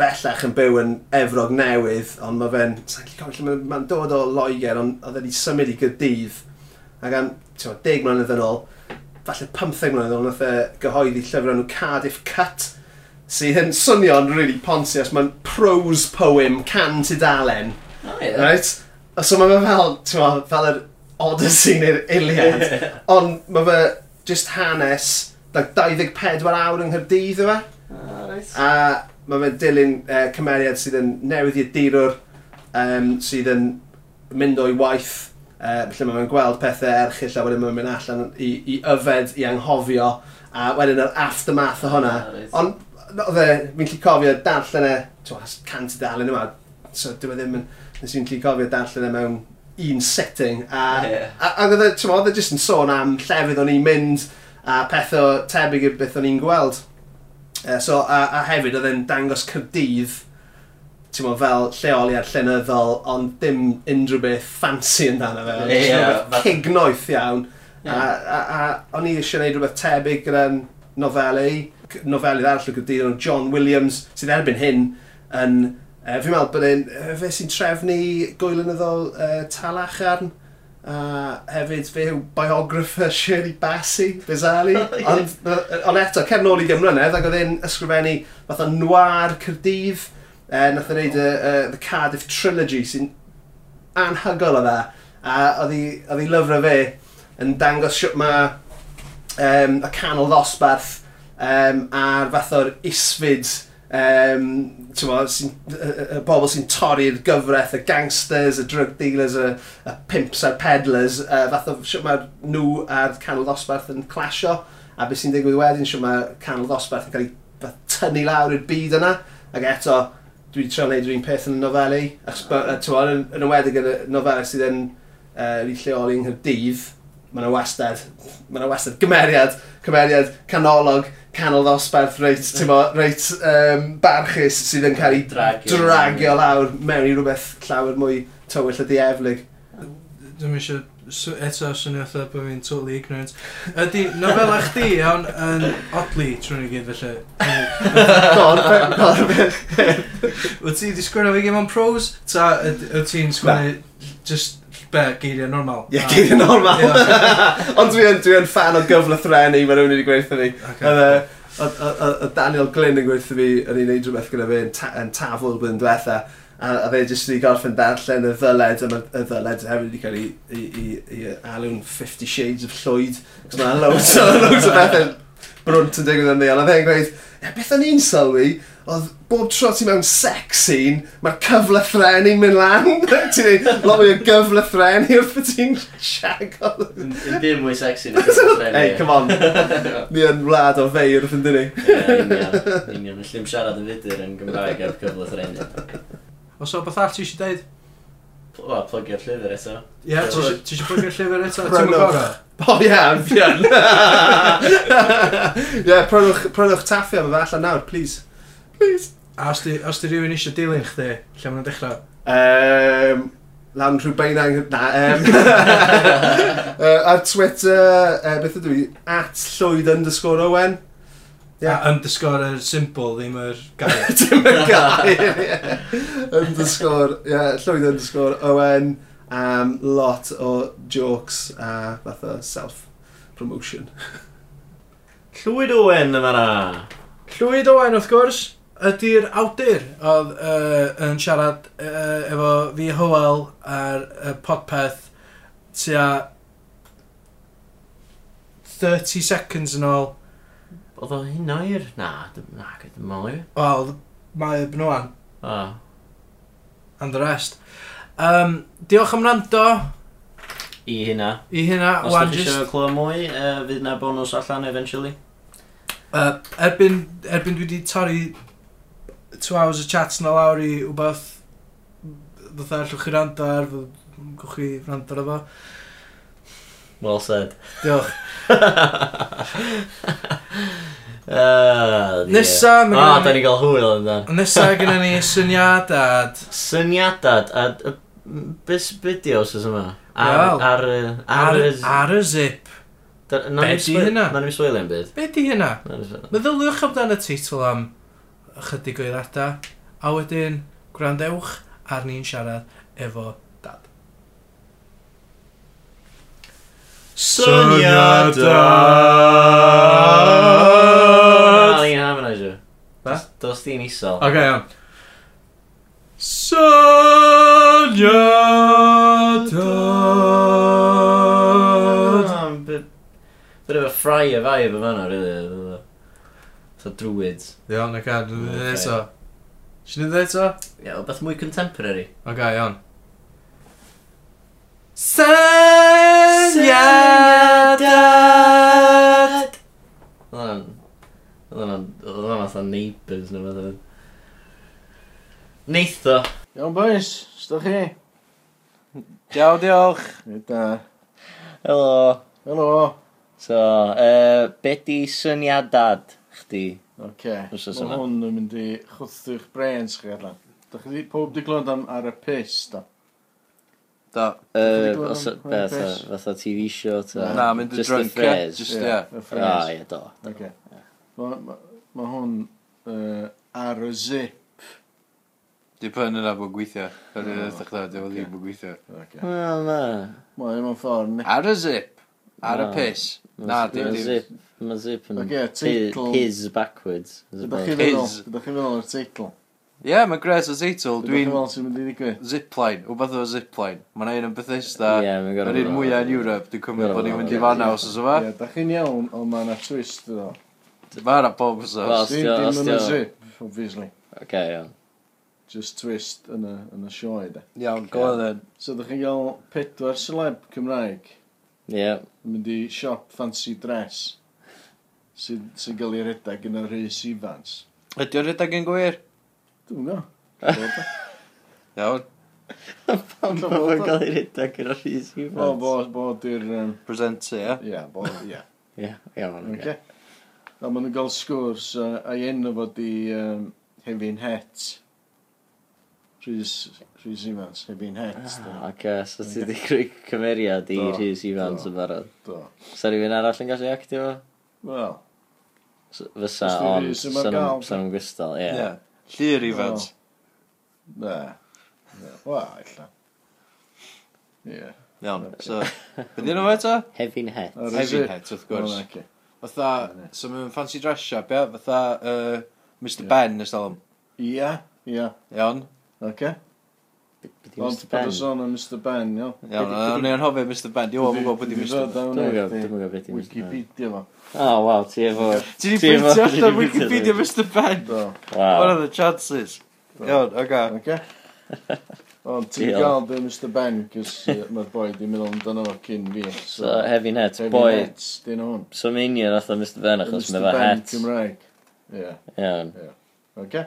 S3: bellach yn byw yn Efrog Newydd ond mae fe'n, sa'n gallu cofio lle ma'n- ma'n dod o Loegr ond oedd wedi symud i Gydydd ac am t'mo, 10 mlynedd yn ôl falle 15 mlynedd yn ôl nath e gyhoeddi llyfr enw Cardiff Cut sydd yn swnio'n really ponsi os mae'n prose poem can tudalen
S1: Oh,
S3: Right? So mae fe fel, ti'n ma, fel yr Odyssey neu'r Iliad. Ond mae fe just hanes, like 24 awr yng e? Nghyrdydd yma.
S1: Right.
S3: A mae fe'n dilyn uh, cymeriad sydd yn newydd i'r dirwr, um, sydd yn mynd o'i waith, uh, lle mae fe'n gweld pethau erchill a wedyn mae'n mynd allan i, i yfed, i anghofio, a wedyn yr aftermath o hwnna.
S1: Ah, Reit.
S3: Ond no, oedd e, fi'n lli cofio darllen e, t'was, cant i dal yn yma, so dyw e ddim yn, nes i'n lli cofio darllen e mewn un setting, a,
S1: Ie.
S3: a, a oedd e, t'mo, oedd e jyst yn sôn am llefydd o'n i'n mynd, a pethau tebyg i'r beth o'n i'n gweld. Uh, so, a, a hefyd oedd e'n dangos cydydd, ti'n mo, fel lleoliad llenyddol, ond dim unrhyw beth fancy amdano fe.
S1: Ie,
S3: Ie,
S1: fath-
S3: yeah, cignoeth iawn.
S1: Ie.
S3: A, a, a o'n i eisiau gwneud rhywbeth tebyg gyda'n nofelu, c- nofelydd arall o gydydd o'n John Williams, sydd erbyn hyn yn, uh, fi'n meddwl bod e'n, uh, fe sy'n trefnu gwylynyddol uh, Talacharn, a hefyd fe yw biographer Shirley Bassey, bizarrely.
S1: O, ie.
S3: Ond yy, ond eto, cer nôl i gymrynedd, ac oedd e'n ysgrifennu fath o noir cyrdydd, uh, nath o'n neud y, y, The Cardiff Trilogy, sy'n anhygol o dda. A oedd hi- oedd hi lyfrau fe yn dangos siwt mae um, y canol ddosbarth um, a'r fath o'r isfyd um, mo, sy, y, y, y bobl sy'n torri'r gyfraith, y gangsters, y drug dealers, y, y pimps a'r peddlers, uh, fath o siwt mae nhw a'r canol ddosbarth yn clasio a beth sy'n digwydd wedyn, siwt mae canol ddosbarth yn cael ei fath tynnu lawr i'r byd yna ac eto dwi'n trio wneud yr un peth yn y nofeli achos bo- yy, t'mo, yn, yn ymwedig yn y nofeli sydd yn uh, lleoli yng Nghyrdydd mae yna wastad mae yna wastad gymeriad cymeriad canolog canol ddosbarth reit, ti'n mo, reit um, barchus sydd yn cael ei
S1: Dragio.
S3: dragio lawr mewn i rhywbeth llawer mwy tywyll a dieflig.
S2: Dwi'n eisiau sw- eto swnio allan bod fi'n totally ignorant. Ydy, nofela chdi iawn yn Otley trwy'n i gyd felly.
S3: God, be- God, be-
S2: Wyt ti wedi sgwrna fi gym am pros? Ta yd- wyt ti'n sgwrna just be, geiriau normal?
S3: Ie, gyd yn normal. Ond dwi'n dwi yn fan o gyfle thrennu, mae rhywun wedi gweithio fi. Oedd e.
S2: Okay.
S3: yy, oedd- oedd- oedd- oedd Daniel Glyn yn gweithio fi yn ei wneud rhywbeth gyda fi yn, ta yn tafl blwyddyn diwetha a a fe jyst wedi gorffen darllen y ddyled a ma- y ddyled hefyd wedi cael ei, i, i, i alw'n 50 Shades of Llwyd cos mae'n loads o loads o bethau brwnt yn digwydd yn ddi ond oedd e'n gweud "Ie, beth o'n i'n sylwi oedd bob tro ti mewn sex scene mae'r cyfle threnu'n mynd lan ti'n neud lot mwy o gyfle threnu wrth i ti'n siagol
S1: Dim mwy sexy na
S3: Hey, come on. Ni yn wlad o feirdd yn dyn
S1: Ie, union, union. Llym siarad yn fudur yn Gymraeg ar gyfle thrennu.
S2: Os o beth all ti eisiau deud?
S1: Pl- Wel, plygio'r llyfr eto.
S2: Ie, ti isio- ti eisiau plygio'r llyfr eto? Ti'n
S3: Prynwch.
S2: gorau?
S3: O ie, yn fion. Ie, prynwch, prynwch taffia yma allan nawr, please. Please.
S2: A os di, os di rhywun eisiau dilyn chdi, lle mae'n dechrau?
S3: Um, Lawn rhywbeth yng Na, um, uh, ar Twitter, uh, beth ydw i, at llwyd underscore Owen. Ie.
S2: Yeah. A underscore yr symbol, ddim yr gair.
S3: Dim yn gair, ie. Underscore, ie, llwyd underscore Owen. Um, lot o jokes a fath o self-promotion.
S1: Llwyd Owen yma na.
S2: Llwyd Owen, wrth gwrs, ydy'r awdur oedd uh, yn siarad uh, efo fi Howell ar y podpeth tua 30 seconds yn ôl.
S1: Oedd o hyn oer? Na, dim- na, gyda mwy.
S2: Wel, mae y bnwan.
S1: Ah.
S2: and the rest. Um, diolch am rando
S1: I hynna.
S2: i hynna.
S1: Os da
S2: wan
S1: chi
S2: jyst-
S1: eisiau clywed mwy, uh, fydd na bonus allan eventually.
S2: Uh, erbyn, erbyn dwi wedi torri two hours o chats na lawr i wbeth fatha allwch chi rando ar fy- gwch chi rando ar efo
S1: Well said.
S2: diolch
S1: uh,
S2: nesa
S1: O,
S2: ma'
S1: da
S2: gynna
S1: ni gael hwyl yn dan.
S2: ni- nesa gyda ni syniadad
S1: Syniadad, a d- m- beth beth os ys yma? Ar,
S2: Wel.
S1: ar, y- ar,
S2: ar,
S1: y-
S2: ar y zip
S1: Da- nawn ni'm
S2: Be' 'di
S1: swi-
S2: hynna?
S1: Nawn ni'n swilio am byd.
S2: be di hynna?
S1: Nawn ni'm swilio.
S2: meddyliwch amdano teitl am ychydig o eirada a wedyn gwrandewch ar ni'n siarad efo dad
S1: Na,
S2: Syniadad
S1: ni'n harmonizer.
S2: Be?
S1: Dos- Dos di'n isol.
S2: Ok, iawn. Syniadad
S1: Oh, bit bit of a friar vibe yn fanno, really. So druids.
S2: Iawn, ac ar, dwi'n
S1: Ocê.
S2: dweud eto. Si'n dweud eto?
S1: Ie, yeah, beth mwy contemporary.
S2: Ok, iawn. Syniadad
S1: Oedd hwnna'n... Oedd hwnna'n fatha neighbours neu beth. Neitho.
S2: Iawn, boys, sdwch chi? Diaw, diolch. Da.
S1: Helo.
S2: Helo.
S1: So, uh, be di syniadad chdi?
S4: Ok,
S1: Wythnos
S4: mae
S1: yma.
S4: hwn yn mynd i chwthu'ch brains chi allan. Da chi di, pob di glod am ar y piss, da.
S5: Da.
S1: Uh,
S4: Ychydig o
S1: os,
S4: hwn,
S1: beth,
S4: Chris.
S1: fatha TV show, ta?
S5: Na, mynd yn
S1: Just the
S5: drunk, ie.
S1: phrase.
S5: Just, ie.
S4: Y
S1: Ah,
S4: phrase.
S1: ie, do.
S4: Ok. Mae ma, ma hwn uh, ar y zip.
S5: Di pen yna bod gweithio. Yr un
S4: O,
S5: ydych da, di bod
S4: ocê.
S5: ddim bod gweithio.
S4: Ok.
S1: Wel, na.
S4: Mae yma'n ffordd ni.
S5: Ar y zip. Ar
S1: Na.
S5: y piss. Na, di
S1: Mae
S5: ddim.
S1: zip. Mae zip yn...
S4: Ok, teitl.
S1: Piz backwards. is
S4: Ydych
S1: about-
S4: chi feddwl,
S5: Piss.
S4: ydych chi feddwl o'r teitl?
S5: Ie, mae gres o zeitl.
S4: Ydych chi
S5: Dwi'n
S4: feddwl sy'n mynd i ddigwydd?
S5: zipline. O beth o zipline. Mae na un yn Bethesda.
S1: Ie, mae'n gorfod-
S5: Yr un mwyaf yn Europe. Dwi'n cymryd
S1: Gorfod
S5: bod ni'n mynd
S1: bod-
S5: i fan aws os yma.
S4: Ie, da chi'n iawn, ond mae yna twist ydo.
S5: Mae na bob os
S1: Wel,
S5: oes.
S1: Os
S4: Dim
S1: dio-
S4: dim
S1: os
S4: yn y
S1: dio-
S4: zip, obviously.
S1: Ok, iawn.
S4: Just twist yn y, yn y sioe, da.
S5: Iawn, go then.
S4: So ydych chi'n gael pedwar celeb Cymraeg.
S1: Ie.
S4: yn mynd i siop fancy dress sy'n sy gael ei redag yn y Rhys Ifans.
S5: Ydy o'n rhedeg yn gwir?
S4: Dwi'n gwybod.
S5: Iawn.
S1: Pam bod yn cael ei redag yn o'r rhys i
S4: Bo, bo, bo, di'r... yym,
S5: Presenter, ie.
S4: Ie, bo, ie.
S1: Ie, iawn.
S4: Oce. A maen nhw'n gael sgwrs uh, a'i enw fod i um, Hefin Het. Rhys, Rhys Ifans, Hefin Het.
S1: Ah,
S4: da.
S1: Ac okay, so ti wedi creu cymeriad i
S4: Do,
S1: Rhys Ifans
S4: do.
S1: yn barod.
S4: Do.
S1: Sa rhywun arall yn gallu actio fo?
S4: Wel,
S1: S- Fysa,
S4: Os 'di
S1: ond
S4: Rhys yma
S1: sa
S4: gael,
S1: nhw'n- sa nhw'n gwystol,
S5: Ie.
S1: ie.
S5: Llyr i fans.
S4: na. Na, Wel, illa. Ie.
S5: Iawn, so... Beth yna fe ta?
S1: Hefyn het.
S4: Ar y
S5: Hefyd
S4: zip.
S5: het,
S4: O,
S5: wrth gwrs.
S4: na, oce.
S5: Fatha, so mae'n fancy dress shop, ia? Fatha, uh, Mr Ben ys dalwm.
S4: Ie, ie,
S5: Iawn.
S4: oce.
S1: Byddi
S4: Ond
S1: Mr
S4: bod y
S1: Ben.
S4: sôn am Mr Ben, iawn.
S5: Iawn, a ni yn hofio Mr Ben. Dwi'n gwybod bod i'n Mr Ben.
S4: Dwi'n
S1: Dwi'n gwybod, dwi'n gwybod beth i Mr Ben.
S4: Wikipedia fo.
S1: O, waw, ti efo...
S5: Ti di
S1: Ti efo- ti
S5: ffeithio
S1: di
S5: allan
S1: ffeithio
S5: Wikipedia
S1: fi.
S5: Mr Ben?
S4: Do,
S5: What
S1: Waw.
S5: are the chances? Iawn, oga.
S4: oce? Ond ti'n
S1: Diolch.
S4: gael dy Mr Ben, cys uh, mae'r boi di meddwl amdano fo cyn fi.
S1: So, hefyn het, boi.
S4: Dyn hwn.
S1: So mae'n union oedd Mr Ben achos
S4: Mr
S1: mae fe
S4: Ben
S1: het.
S4: Cymraeg. Ie,
S1: Iawn.
S4: oce?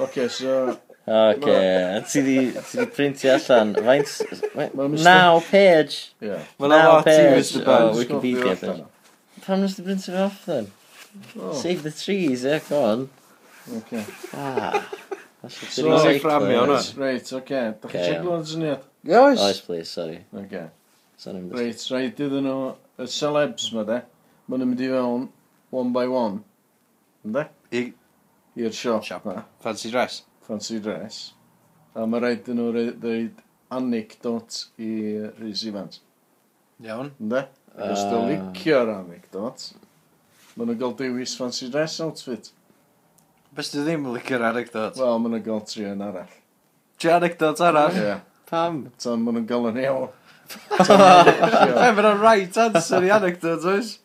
S4: Oce, so...
S1: Oce, a ti di ti di printio allan. Faint...
S4: Ma' Mr.
S1: Now page.
S4: Ie.
S5: Mae'n a
S1: Now
S5: lot i
S1: page
S5: Mr
S1: o
S5: Ben.
S1: Wikipedia. page. Pam nes di printio fe off then?
S5: Oh.
S4: Oh,
S1: Save the trees, ie, go on.
S4: Oce.
S1: Ah. That's a
S4: So,
S1: bit of
S4: reit,
S5: fframio hwnna.
S1: cycling.
S4: Reit, oce. Da
S1: Oce,
S4: chi
S1: iawn.
S4: siarad glwyd syniad?
S1: Oes,
S5: Oes.
S1: please, sorry.
S4: Oce.
S1: Sorry, I'm just-
S4: Reit, rhaid iddyn nhw, y celebs ma de, maen nhw'n mynd i fewn one by one, ynddo?
S5: I-
S4: I'r siop,
S5: Siop.
S4: ma,
S5: Fancy dress.
S4: fancy dress. A mae rhaid iddyn nhw rhoi- ddeud anecdot i Rhys Ifans,
S5: Iawn.
S4: ynddo? Ac os dwi'n
S1: Ah.
S4: licio'r anecdot, maen nhw'n gael dewis fancy dress outfit.
S5: Bys ti ddim yn licio'r anecdot.
S4: Wel, maen nhw'n gael tri yn arall.
S5: Ti anecdot arall?
S4: Ie,
S5: Pam?
S4: tan maen nhw'n gael yn iawn.
S5: Fe, mae'n rhaid answer i anecdot, oes?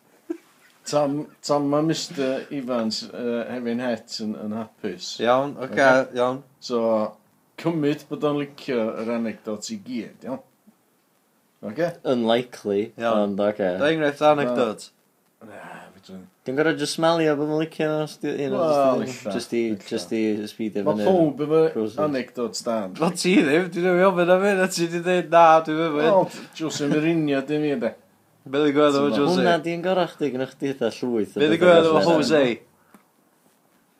S4: Tam, tam mae Mr Evans uh, hefyn het yn, yn hapus.
S5: Iawn, oce, okay,
S4: Ocê.
S5: iawn.
S4: So, cymryd bod o'n licio yr anegdot i gyd, iawn? Oce?
S1: Unlikely,
S5: Iawn.
S1: ond oce.
S5: Da enghraifft anecdot.
S4: Na, fydwn.
S1: Dwi'n gorau just smelio bod ma'n licio nhw, sti- you know,
S4: Wel,
S1: just i-
S4: ella,
S1: just i,
S4: ella.
S1: just i speedio
S4: Mae
S1: fyny.
S4: pob efo
S1: Proses.
S4: anegdot dan.
S5: Wel ti ddim, dwi'n ei ofyn am hyn, a ti di dweud na, dwi'n
S4: Wel,
S5: mynd.
S4: Jose Mourinho, dim i de.
S5: Be ddi gwedd
S1: Ma'
S5: efo
S1: Hwnna
S5: Jose?
S4: e-
S1: di'n gorau chdi, gynnwch chdi eitha llwyth. o
S5: Be ddi
S1: betha
S5: gwedd efo
S1: fel 'na.
S5: Jose?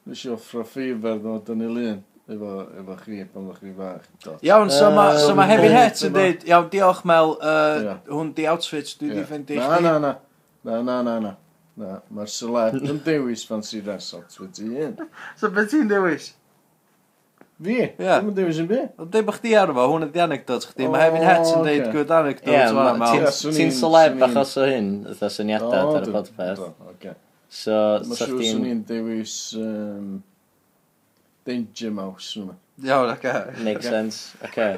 S4: Nes i offro ffeifr ddod yn ei lun efo, efo chi pan ddech chi bach. Dot.
S5: Iawn, so ma- so
S1: Yym,
S5: mae Heavy
S1: pob
S5: Het yn
S4: yma.
S5: dweud, iawn, diolch Mel, yy,
S4: Ie.
S5: hwn di outfits, dwi di
S4: Ie.
S5: ffendi
S4: Na,
S5: chdi.
S4: na, na. Na, na, na, na. Na, mae'r celeb yn dewis fancy dress outfit i un.
S5: So beth ti'n dewis?
S4: Fi? Ie. Dwi'n yn dewis yn byd.
S5: Ond dweud bod chdi arfo, hwn ydi anecdotes chdi, mae
S4: O,
S5: Heavy Het yn dweud
S4: ocê.
S5: good anecdotes
S1: Ie,
S5: fan
S1: ma-
S5: yma.
S1: ti'n-
S4: Ie, swn
S1: ti'n
S4: i'n-
S1: celeb
S4: swn i'n-
S1: achos o hyn, eitha syniadau ar y podcast.
S4: Oce.
S1: So,
S4: Mae'n
S1: sa
S4: siŵr swn
S1: chdi'n
S4: i'n dewis um, Danger Mouse nhw.
S5: Iawn, oce.
S1: make sense. Oce.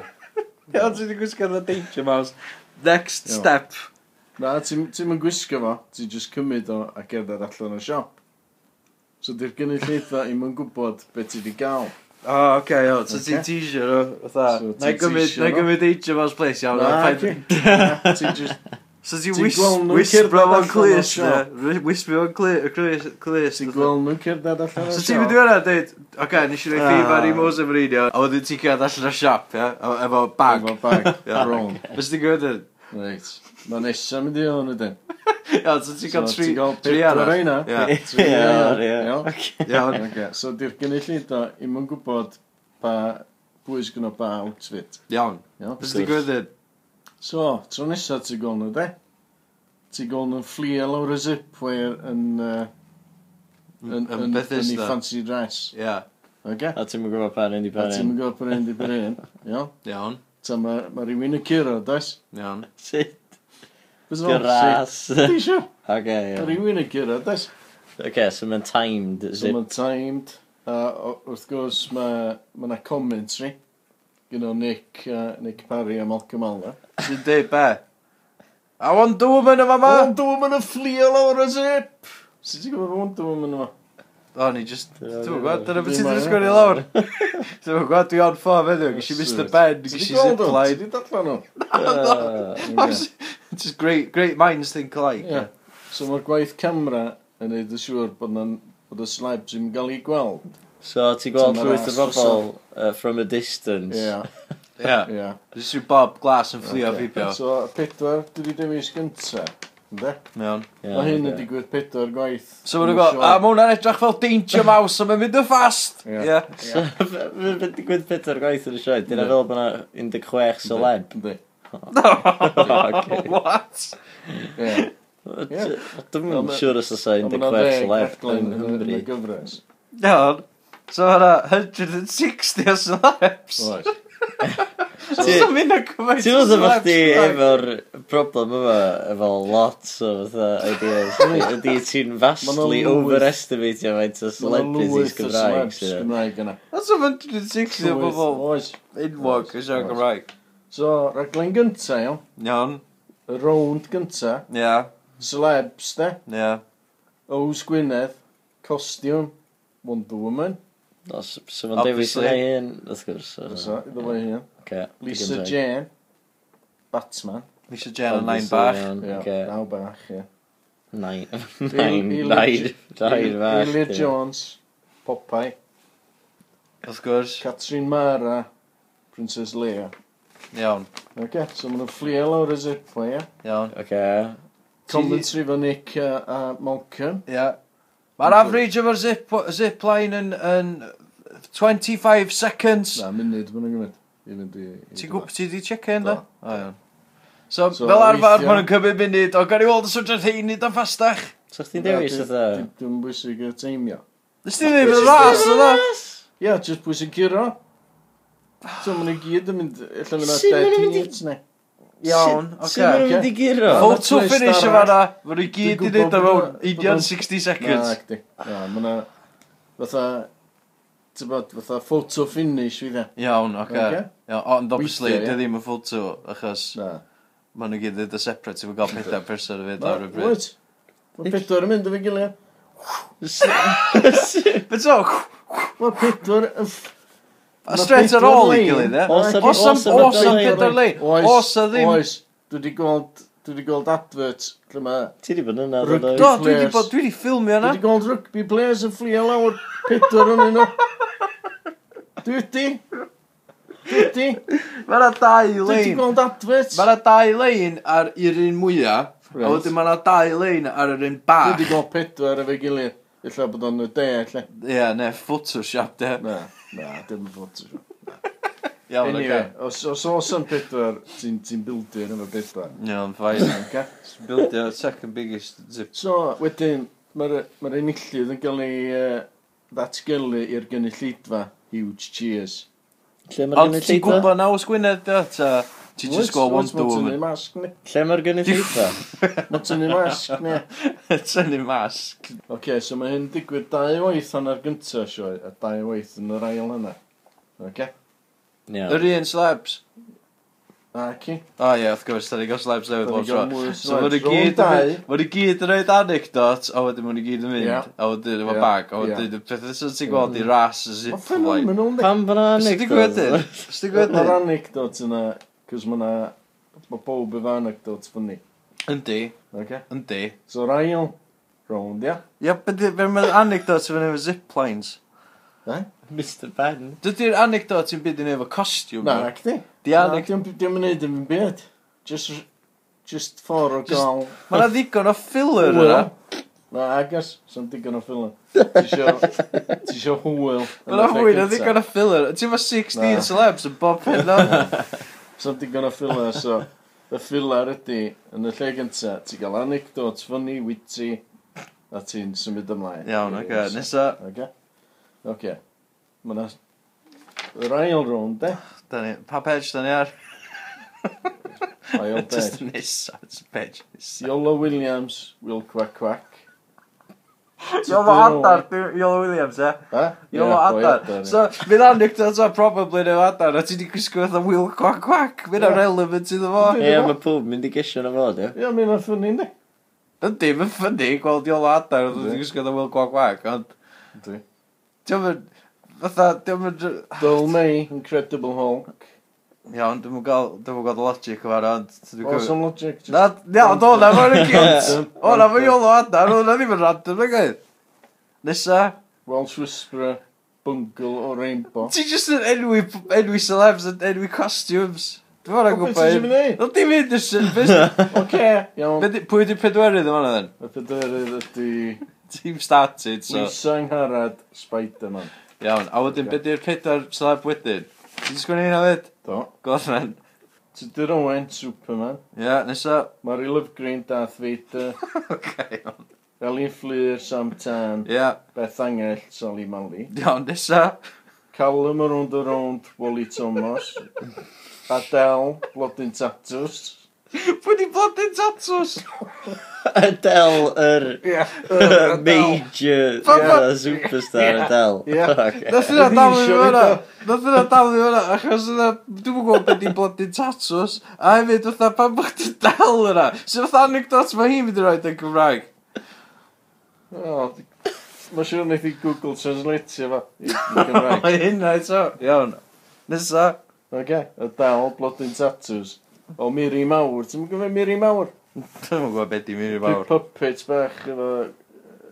S5: Iawn, ti di gwisgo na Danger Mouse. Next
S4: Iawn.
S5: step.
S4: Na, ti'n ti yn gwisgo fo, ti'n just cymryd o a gerdded allan o siop. So di'r gynulleidfa i'm yn gwybod beth ti di gael.
S5: O, oce, iawn, so
S4: Ocê.
S5: ti'n t-shirt o, fatha,
S4: So
S5: na i
S4: ti'n
S5: gymryd,
S4: t-shirt
S5: na i
S4: o.
S5: gymryd Danger Mouse place, iawn,
S4: Na,
S5: a
S4: oce.
S5: paid-
S4: Na, Ti'n just...
S5: So ti'n
S4: Ti'n
S5: wis-
S4: gweld nhw'n
S5: wisbro
S4: cerdded
S5: fo'n
S4: allan o'r
S5: clust,
S4: siop.
S5: ie. Wisbro fo'n clu- clust- clust,
S4: Ti'n
S5: fatha.
S4: gweld nhw'n cerdded allan o
S5: So
S4: siop.
S5: ti'n mynd i fyna a dweud, oce, nes i roi
S1: Ah.
S5: ffeifar i Mose Mourinho, a wedyn ti'n cael allan o siop, ie, efo- efo bag.
S4: Efo bag.
S5: Ie.
S4: Wrong.
S5: Bys ti'n gwybod hyn?
S4: Reit. Mae nesaf mynd i hwn ydyn.
S5: Iawn, so ti'n cael
S4: So
S5: tri,
S4: ti'n cael
S5: tri
S4: pedwar
S5: arall.
S4: reina.
S1: Ie,
S5: Ie,
S1: ie.
S4: Iawn.
S5: iawn.
S4: Oce, So di'r gynulleidfa i'm yn gwybod ba bwys gyno ba outfit.
S5: Iawn.
S4: Iawn.
S5: Bys ti'n gwybod hyn?
S4: So, tro nesaf ti'n gweld nhw, de? Ti'n gweld nhw'n fflio lawr y zipware yn... Uh, yn,
S5: Yn
S4: yn, yn,
S5: Bethesda.
S4: ei fancy dress.
S5: Ie,
S4: Oce?
S1: A ti'n mynd gwybod pan yn di
S4: A
S1: pan
S4: ti'n
S1: yn.
S4: mynd gwybod bod yn di bod un. Iawn.
S5: iawn,
S4: Ta mae ma rhywun yn curo, does?
S5: iawn.
S1: Sut?
S4: Beth o'n sut?
S1: Gras.
S4: Di sio?
S1: Oce,
S4: Mae
S1: iawn.
S4: rhywun yn curo, does?
S1: Oce, so mae'n timed
S4: So
S1: zip.
S4: mae'n timed. A o- wrth gwrs mae ma na commentary. Gyno Nick, uh, Nick Parry a Malcolm Alder.
S5: Ti'n dweud be? A Wonder Woman yma ma!
S4: Wonder Woman yn fflio lawr y zip! Sut ti'n gwybod Wonder Woman yma?
S5: O, ni just... Dwi'n gwybod, dyna beth
S4: Ddim
S5: ti'n
S4: angen.
S5: sgwrdd i lawr. Dwi'n gwybod, dwi on ffordd feddiw, gysi Mr Ben,
S4: Ti di
S5: gysi
S4: gweld o? Ti
S5: Zipline.
S4: di dadlan o?
S1: Yy,
S4: Ie.
S5: Just great, great minds think alike.
S4: Ie. So mae'r gwaith camera yn neud yn siŵr bod na'n- bod y slabs yn gael ei gweld.
S1: So, ti'n gweld
S4: Ti'n
S1: llwyth o
S4: gras.
S1: bobl uh, from a distance.
S4: Ie,
S5: Ie.
S4: ie.
S5: Just yw Bob Glass yn fflio
S4: Ocê.
S5: fibio.
S4: So y pedwar, dwi wedi dewis gynta. Ynde?
S5: Iawn.
S1: Ie,
S4: Mae hyn
S1: oce.
S4: yn digwydd pedwar gwaith.
S5: So ma'n gwybod, a mae hwnna'n edrych fel Danger Mouse, a mae'n mynd yn fast.
S4: Ie.
S5: Ie.
S1: So, fe- fe digwydd pedair gwaith yn y sioe. Dyna fel bod yna 16 celeb.
S4: Ynddi.
S1: Oce.
S5: What?
S4: Ie. Ie.
S1: Dwi'n
S4: Wel,
S1: yn
S4: ma-
S1: siŵr os oes 16 celeb yn Hymru.
S4: Y gyfres.
S5: Iawn. So hwnna 160 o slaps.
S4: Oes.
S5: Ti'n so, mynd o cymaint
S1: Ti'n meddwl bod chdi efo'r problem yma efo lot o fatha ideas? Ydy ti'n vastly
S4: lwyth-
S1: overestimatio faint o
S4: Mae 'na
S1: celebrities
S4: lwyth o
S1: Gymraeg
S4: slabs
S1: sy'n
S4: Gymraeg yna.
S5: That's 160 o
S4: Lwyth.
S5: bobl
S4: Oes.
S5: enwog yn siarad
S4: Oes.
S5: Gymraeg.
S4: So, raglen gynta, iawn.
S5: Iawn.
S4: Y rownd gynta.
S5: Ie.
S4: Celebs, de.
S5: Ie.
S4: Ows Gwynedd. Costiwm. Wonder Woman.
S1: Os so ma'n dewis
S5: Obviously.
S1: yna hyn, wrth gwrs.
S4: Fysa, iddo fo hyn.
S1: Okay,
S4: Lisa Jane. Batman.
S5: Nisio Jen yn nain bach.
S4: Ie.
S1: Nain.
S4: Naw bach, ie.
S1: Nain.
S4: Ail-
S1: Nain. Nain fach.
S4: Eilir
S1: ie.
S4: Jones, Popeye,
S5: Wrth gwrs.
S4: Catrin Mara, Princess Leia.
S5: Iawn.
S4: Ok, so maen nhw'n fflio lawr y zipline, ie.
S5: Iawn.
S1: Oce.
S4: Commentary fo Nick a, a Malcolm.
S5: Ie. Mae'r average efo'r zip, zip line yn, yn 25 seconds.
S4: Na, munud, maen nhw'n gymryd. I fynd i... i
S5: Ti'n
S4: dyma.
S5: gwybod, ti di check-in da?
S4: Do.
S5: O, iawn. So,
S4: So,
S5: fel arfer,
S4: weithio-
S5: maen nhw'n cymryd munud, o, gan i weld y swydredd hyn nid o'n ffastach.
S1: So chdi'n
S4: Na,
S1: dewis
S4: dwi-
S1: ytho?
S4: dwi- Dwi'n bwysig y teimio.
S5: Nes ti ddim yn ras, yna?
S4: Ie, jyst bwysig giro. So maen nhw gyd yn mynd... Alla mynd
S1: Sut
S4: at
S1: ma' nhw'n
S4: 30
S1: mynd i-
S4: minutes, ne?
S5: Iawn,
S1: Sut ma'n
S5: oce.
S1: mynd i giro?
S4: Fo-
S5: Photo
S4: Twist
S5: finish
S4: arall.
S5: yma na, maen nhw'n
S4: Dwi'n
S5: gyd i
S4: gwbod
S5: wneud o
S4: bod
S5: mewn
S4: nhw- bod nhw'n-
S5: 160
S4: Na,
S5: seconds.
S4: acdi. Na, maen nhw... Fatha... Ti'n bod, fatha photo finish, fydd e.
S5: Iawn, oce.
S4: Ocê.
S5: Iawn, Ond, obviously,
S4: Weithio, ie.
S5: dy ddim yn photo, achos
S4: Na.
S5: maen nhw gyd yn separate, ti'n gael pethau person o fynd
S4: Na,
S5: ar y bryd.
S4: wyt. Mae pedwar yn mynd efo'i gilydd. Mae
S5: But so,
S4: pedwar yn... ff-
S5: a
S4: ma'
S5: straight ar
S4: pedwar
S5: ôl i
S4: lein.
S5: gilydd, e?
S1: Oes a-
S5: Os am,
S1: oes a
S5: os am
S1: pedwar lein.
S5: gyda'r lein,
S4: Oes,
S5: os a ddim...
S4: Oes, dwi wedi gweld, dwi wedi gweld advert lle mae...
S1: Ti di bod yna,
S4: Rwg-
S1: dod o'i...
S5: Do,
S4: Do,
S5: dwi wedi
S4: players.
S5: bod, dwi wedi
S4: Dwi
S5: ffilmio yna.
S4: wedi gweld rugby players yn fflio lawr pedwar yn yno. Dwi wedi. Dwi wedi.
S5: Mae yna dau
S4: Dwi wedi
S5: lein.
S4: gweld advert.
S5: Mae yna dau lein ar i'r un mwyaf, a
S4: Reit.
S5: wedyn mae yna dau lein ar yr un
S4: Dwi
S5: bach.
S4: wedi gweld pedwar efo'i gilydd. Illa bod o'n y de, lle.
S5: Ie, ne, Photoshop, de.
S4: Na, na, dim yn ffotos.
S5: Iawn, oce.
S4: Anyway, os os oes yn pedwar, ti'n ti bildio'n efo pedwar.
S5: Iawn, ffain.
S4: Okay.
S5: Buildio second biggest zip.
S4: So, wedyn, mae'r ma enillydd yn cael ei uh, ddatgelu i'r gynulleidfa. Huge cheers.
S1: Lle mae'r
S5: Ond ti'n
S1: gynulleidfa?
S5: gwybod na os Gwynedd, de, ta? Ti'n just go Wonder Woman.
S4: masg ni.
S1: Lle mae'r gynulleidfa?
S4: Mae tynnu masg ni.
S5: Tynnu masg.
S4: Oce, so mae hyn digwydd dau waith yn yr gyntaf sioe, a dau waith yn yr ail yna. Oce?
S1: Iawn.
S5: Yr un slabs.
S4: A ci.
S5: O ie, wrth gwrs, da ni gael slabs newydd bob tro. So mae'n i gyd yn
S4: dau.
S5: mynd- ma' nhw gyd yn rhaid anecdot, a wedyn mae'n i gyd yn
S4: Ie.
S5: mynd, a wedyn efo
S4: Ie.
S5: bag, a
S4: Ie. Mm.
S5: wedyn y peth sy'n ti'n gweld i ras y
S4: Mae'n
S5: zip o blaen.
S4: ffenomenol, yndi?
S1: Pam fyna
S5: Ysdi gwybod
S1: anegdol?
S5: hyn? Ysdi gwybod
S4: Mae'r
S5: hyn?
S4: anecdot yna, cos mae yna, mae bob efo anecdot ffynnu.
S5: Yndi,
S4: Oce?
S5: yndi.
S4: So yr ail round, ia?
S5: Ie, bydde, fe'r mae'n anecdot yn efo zip lines.
S1: Mr Ben.
S5: Dydy'r anecdot yn byd yn efo costiwm.
S4: Na, ac di.
S5: Di anecdot.
S4: Dim yn neud yn fy byd. Just, just ffordd o
S5: Jyst-
S4: gael...
S5: Mae'n ddigon o filler yna.
S4: Hwyl. Na, agos, sy'n digon o ffilm. Ti isio hwyl.
S5: Mae'n o hwyd, oedd ddigon o filler. Ti'n ma 16
S4: Na.
S5: celebs yn bob pen o'n.
S4: Sy'n digon o ffilm, so... Y ffilar ydy, yn y lle gynta, ti'n cael anecdotes funny, witty, a ti'n symud ymlaen.
S5: Iawn, oce. Nesa,
S4: Oce? Oce. Mae na... Yr ail round, de?
S5: da ni, pa page da ni ar?
S4: Ail
S5: Just
S4: bed.
S5: nesa, just page nesa.
S4: Iolo Williams, Will Quack Quack.
S5: Iolo Adar, Iolo Williams, e?
S4: Ha?
S5: Iolo
S4: Ie, boi
S5: Adar.
S4: ie.
S5: So, fydd anecdotes o probably neu Adar, a ti di gwisgo fatha Will Quack Quack. Fy'n ar element iddo fo.
S1: Ie, mae pob mynd i gesio na fod, ie.
S4: Ie, mae'n ffynnu, ne?
S5: Yndi, mae'n ffynnu gweld Iolo Adar, oedd wedi
S4: Yndi.
S5: gwisgo fatha Will Quack Quack, ond...
S4: Yndi.
S5: Diolch yn... Fatha, diolch yn...
S4: Dyl May, Incredible Hulk.
S5: Iawn, dwi'n gael, dwi'n gael logic o fan, ond... dwi'n gwybod-
S4: Awesome Logic. just-
S5: Na, na, do, na fo'n y cynt.
S4: Random.
S5: O, na fo'n iolo adar, o, na ddim yn random, na gael. Nesa,
S4: Welsh Whisperer, Bungle o Rainbow.
S5: ti jyst yn enwi, enwi celebs, yn enwi costumes. Dwi'n fawr yn
S4: O, beth ti isio
S5: gwybod.
S4: fi neud?
S5: Na dim un ys yn bus.
S4: Oce, iawn.
S5: Pwy di pedwerydd yma then?
S4: Y pedyrydd ydy
S5: Team started, so.
S4: Lisa Ngharad, Spider-Man.
S5: Iawn, a wedyn, beth di'r pedwar celeb wedyn? Ti'n sgwini hynna fyd?
S4: Do.
S5: Gothman.
S4: Tudur Owen, Superman.
S5: Ia, nesa.
S4: Mary Love Green, Darth Vader.
S5: Oce, iawn.
S4: Elin Fleur, Sam Tan.
S5: Ia,
S4: Beth Angell, Sally Mally.
S5: iawn, nesa.
S4: Callum Around Around, Wally Thomas. Adele, Blodyn Tatws.
S5: Pwy di blodyn tatws?
S1: Adele, yr
S4: Ie.
S1: er, major
S5: Pa- pa-
S1: yeah, superstar Adele.
S4: Ie.
S1: Okay.
S5: Nath yna
S4: Fi
S5: dal i
S4: isio
S5: fyna.
S4: neud
S5: Nath yna dal i fyna. Achos yna, dwi'n gwybod beth di blodyn tatws. A hefyd, fatha, pan bych ti'n dal yna. So fatha anecdot mae hi'n mynd i roed yn Gymraeg.
S4: O, di- Mae siwr wneud i Google Translate efo i i Gymraeg.
S5: Mae hynna eto. Iawn. Nesa.
S4: Oce, y dal blodyn tatws. O Miri Mawr, ti'n gwybod Miri Mawr?
S5: Dwi'n gwybod beth di mynd i
S4: Dwi puppet bach efo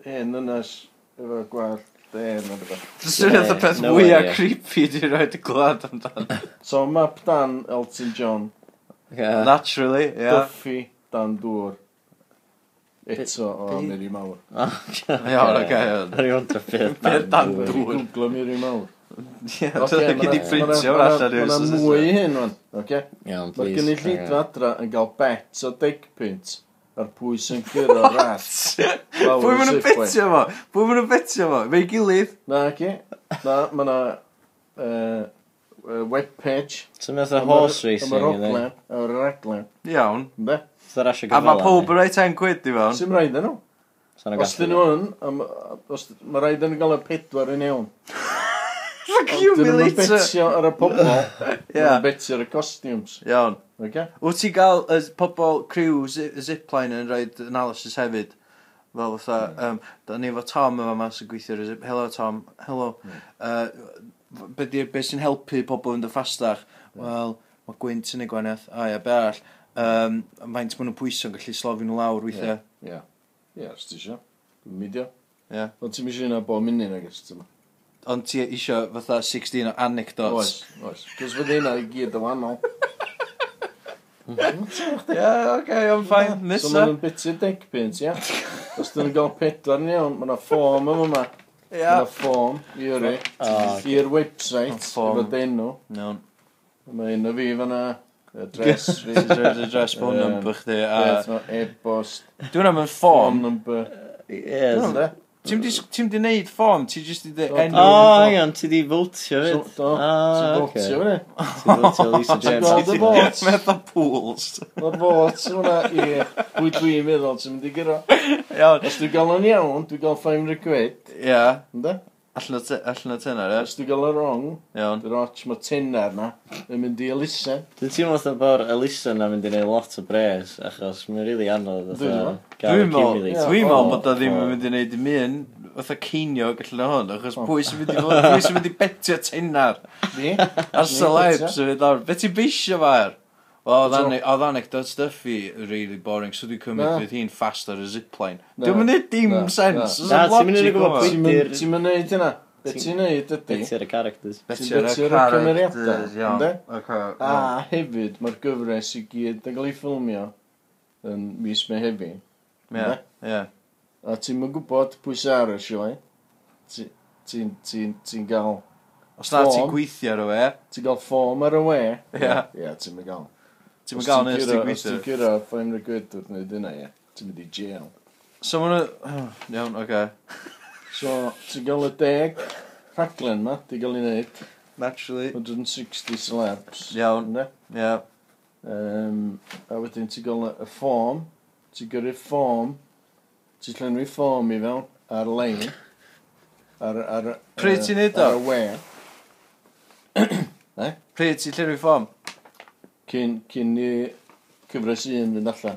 S4: hen ynas, efo gwar den o rhywbeth.
S5: Dwi'n
S1: Ie,
S5: gwybod peth
S1: no
S5: mwyaf
S1: idea.
S5: creepy di roed yn glad amdano.
S4: So Map Dan, Elton John,
S1: Yeah.
S5: Naturally, ia.
S4: Duffy, Dan Dŵr. Eto o
S1: be-
S4: Miri Mawr.
S5: Iawn, oce, iawn.
S1: Ar i ond o beth
S5: Beth dan
S1: dŵr.
S5: dŵr.
S4: Google Miri Mawr.
S5: Ie, dwi'n gyd i ffrintio o'r allan i'r
S4: Mae yna mwy i hyn, fan. Oce?
S1: Iawn,
S4: Mae'r
S1: please.
S4: gynulleidfa adra yn cael bet o degpint ar pwy sy'n gyrra ras. Lawr
S5: Pwy
S4: y
S5: maen nhw'n
S4: Safeway.
S5: betio fo? Pwy maen nhw'n betio fo? Fe'i gilydd?
S4: Na, ci. Na, mae yna uh, webpage.
S1: So mae'n fatha horse racing,
S4: Mae'r
S1: ydy.
S4: oglen, a'r raglen.
S5: Iawn.
S4: Ynde?
S1: Fatha rasio
S5: A
S1: gyfela.
S5: mae pob yn rhoi 10 quid i fewn.
S4: Sy'n rhaid yn nhw. Os dyn nhw yn, a ma- os- mae rhaid yn gael y pedwar yn iawn.
S5: Fuck
S4: Ond
S5: you,
S4: dyn nhw'n
S5: Milita!
S4: betio ar y pobol. Dyn
S5: Ia,
S4: nhw'n betio ar y costumes.
S5: iawn.
S4: Oce?
S5: Wyt ti gael y pobol crew zi- zipline yn rhoi analysis hefyd? Fel fatha, um, da ni efo Tom yma mas yn gweithio ar y Zip. Hello Tom, hello. Uh, be di'r beth sy'n helpu pobl yn dy ffastach? Wel, mae gwynt yn y gwanaeth. A ia, be all. Um, Faint maen nhw'n pwyso yn gallu slofi nhw lawr weithiau.
S4: Ie. Ie, os ti isio. Dwi'n midio.
S5: Ie.
S4: Ond ti'n misio yna bo munud nag ys ti yma.
S5: Ond ti isio fatha 16 o
S4: Oes,
S5: anecdotes.
S4: oes. Cos fydde hynna i gyd yn wahanol.
S5: Ie, oce, I'm fine.
S4: So
S5: Nesa.
S4: maen nhw'n bitu dick pint, ia? Os dyn nhw'n gael pedwar ni iawn, maen nhw ffom yma yma.
S5: Ie.
S4: Maen nhw ffom i yrru. I'r website,
S5: Ma' form.
S4: efo denw.
S5: Iawn.
S4: Mae un o fi fanna. Adres fi.
S5: Reserve the dress phone
S4: Yym,
S5: number chdi.
S4: Beth
S5: a-
S4: ma' e-bost.
S5: Dwi'n am yn
S4: Ffom
S5: ffom.
S4: number.
S1: Yes.
S5: No. Ti'n di, ti'n di neud ffom, ti jyst di de
S4: Do.
S5: enw.
S1: O, hang on, ti di votio
S4: So,
S1: fyd?
S4: do.
S1: Ah, oce.
S4: Ti'n botio fyny.
S1: Ti votio Lisa
S4: Ti'n gweld
S1: James.
S4: y bot.
S5: Mae fatha pools.
S4: Mae'r bot sy'n hwnna i pwy dwi'n meddwl sy'n mynd i gyro.
S5: Iawn.
S4: Os dwi'n gael o'n iawn, dwi'n gael 500 quid.
S5: Ia.
S4: Ynda?
S5: Allan o te- allan o tynnar,
S4: Os dwi'n gael o'n wrong,
S5: e? Iawn.
S4: dwi'n och mae tenna yna yn mynd i elusen.
S1: Dwi'n teimlo fatha bod Elisa na mynd i neud lot o bres, achos mae'n rili anodd
S4: Dwi'n
S1: fatha
S4: meddwl.
S1: gael
S5: Dwi'n meddwl,
S1: accumulate.
S5: dwi'n mewl
S4: o,
S5: bod o ddim
S1: o.
S5: yn mynd i neud i mi yn fatha ceiniog allan o hwn, achos pwy sy'n mynd i fod, pwy sy'n mynd i betio tynnar
S4: Ni?
S5: ar
S4: Ni,
S5: celebs
S4: betio.
S5: yn mynd ar, beth i'n beisio fa'r? Wel, oedd
S4: So-
S5: ane- oedd anecdote stuff i really boring, so dwi'n
S4: Na.
S5: cymryd bydd hi'n fast ar y zipline.
S4: Na.
S5: Dwi'n mynd i dim
S4: Na.
S5: sens.
S4: Na.
S1: Na,
S5: oes na'm
S1: ti'm yn unig
S5: logic
S1: gwbod
S5: o hwnna.
S1: pwy-
S4: Ti'n mynd- ti'n mynd neud hynna? Be
S1: Ti'n-
S4: ti'n neud ydy?
S1: Beth yw'r characters?
S5: Betio ar y
S4: betio'r
S5: characters,
S4: cymeriadau, Ah. yndde?
S5: iawn. Ocê,
S4: A
S5: wel.
S4: hefyd, mae'r gyfres i gyd yn cael ei ffilmio yn mis Mehefin.
S5: Ie, ie.
S4: A ti'n mynd gwybod pwy sy'n ar y sioe. Ti- Ti'n ti, ti gael
S5: Os na ti'n
S4: Ffôn.
S5: gweithio ar y we,
S4: ti'n gael ffom ar y we.
S5: Ie.
S4: Ie, ti'n mynd gael.
S5: ti'n mynd
S4: Os
S5: gael
S4: ti'n
S5: nes
S4: curo-
S5: ti'n
S4: Os ti'n
S5: gweithio.
S4: gyro 500 quid wrth wneud hynna, ie. Ti'n mynd i jail.
S5: So ma'n... Iawn, oce.
S4: So, ti'n gael y deg rhaglen ma, ti'n gael ei wneud.
S5: Naturally.
S4: 160 slabs.
S5: Iawn. Ie.
S4: Um, a wedyn ti'n gael y fform, ti'n gyrru fform, ti'n llenwi fform i fewn ar lein. Ar, ar,
S5: Pryd
S4: yy,
S5: ti'n neud
S4: Ar
S5: o?
S4: y we.
S5: Pryd ti'n llenwi ffom?
S4: Cyn, cyn i cyfres un fynd allan.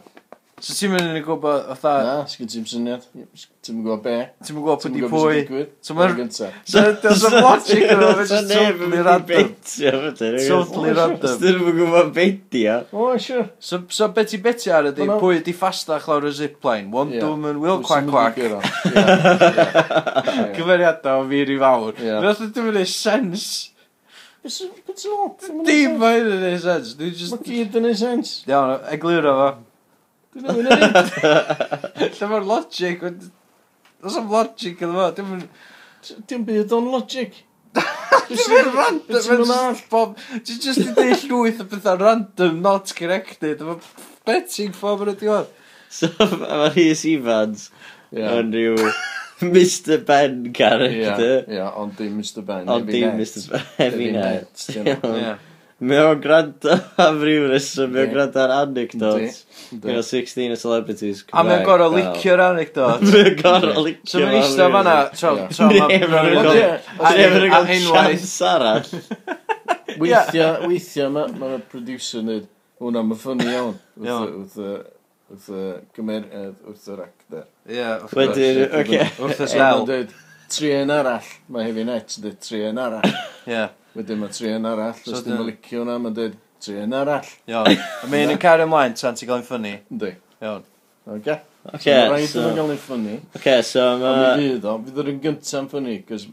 S5: So ti'n mynd i'n gwybod, fatha,
S4: Na, sgyn ti'n syniad. Ti'n mynd gwybod be.
S5: ti'n mynd gwybod
S4: Ti'm
S5: pwy
S4: yn
S5: di
S4: gwbod be sy'n
S5: pwy.
S4: digwydd.
S5: So ma'r-
S4: Yn gynta.
S5: So there's a logic yn o'n just totally random. Totally
S1: Os
S5: random.
S1: dyn nhw'n gwybod beidio.
S4: O, siwr.
S5: So, so beth i beti ar ydi,
S4: Wel, no.
S5: pwy di ffastach lawr y zipline? One
S4: Ie.
S5: doom and will quack quack.
S4: quack.
S5: Cymeriadau o fir i fawr.
S4: Ie.
S5: Roedd ddim yn ei sens. Dim
S4: Dim!
S5: mae hyn yn ei sens. Dwi'n
S4: Mae
S5: just...
S4: gyd yn ei sens.
S5: Iawn, egluro fo.
S4: Dwi'n ei wneud.
S5: Lle mae'r logic? ond- Does am logic yn fo, dim yn...
S4: Dim byd o'n logic.
S5: Dim yn random,
S4: Ti'n mynd
S5: mae'n
S4: all.
S5: all bob... Ti'n just i ddeall llwyth o bethau random, not connected. Mae betting ffordd yn y diwedd.
S1: So, mae Rhys Evans yn
S4: Ie,
S1: rhyw Mr Ben
S4: ie,
S1: character.
S4: ie, ond dim Mr Ben.
S1: Ond
S4: heavy
S1: dim
S4: net.
S1: Mr Ben, heavy
S4: Heavy
S1: net.
S4: net, dim-
S1: Iawn. Mae o'n gwrando am rhyw reswm, mae o'n
S4: Yndi.
S1: gwrando ar anecdotes.
S4: Yndi.
S1: Gyda 16 o celebrities.
S5: A mae'n
S1: Cymraeg,
S5: gorau
S1: fel-
S5: licio'r anecdote.
S1: Mae o'n gorau licio.
S5: So mae'n eistedd fan'na, tro,
S4: Ie.
S5: tro
S1: Ie, ma' nhw'n
S4: Ond
S1: gorfod-
S5: mae...
S4: ie,
S1: A hefyd yn
S5: A
S1: cael
S5: unwaith.
S1: sians arall.
S4: Weithiau, weithiau mae ma y producer yn dweud, hwnna mae ffynnu iawn. wrth y-
S5: Iawn.
S4: Wrth y wrth y gymeriad, wrth yr actor.
S5: Ie, wrth gwrs.
S1: Wedyn,
S4: Wrth
S1: oce.
S5: Wrth
S4: Ond
S5: ysgel.
S4: ma'n dweud, tri yn arall, mae hefyd net yn dweud tri yn arall.
S5: Ie,
S4: Wedyn mae tri yn arall,
S5: So
S4: os dim
S5: dyna-
S4: yn licio hwnna, mae'n dweud tri yn arall.
S5: iawn. A mae'n yn cario ymlaen tan ti'n gael yn ffynnu.
S4: Ynddi.
S5: Iawn.
S4: Oce?
S1: Oce,
S4: Mae rhaid
S1: so-
S4: yn gael ei ffynnu.
S1: Oce, so um, uh,
S4: Ond
S1: mae...
S4: mi fydd o, fydd yr un gyntaf yn ffynnu, cos...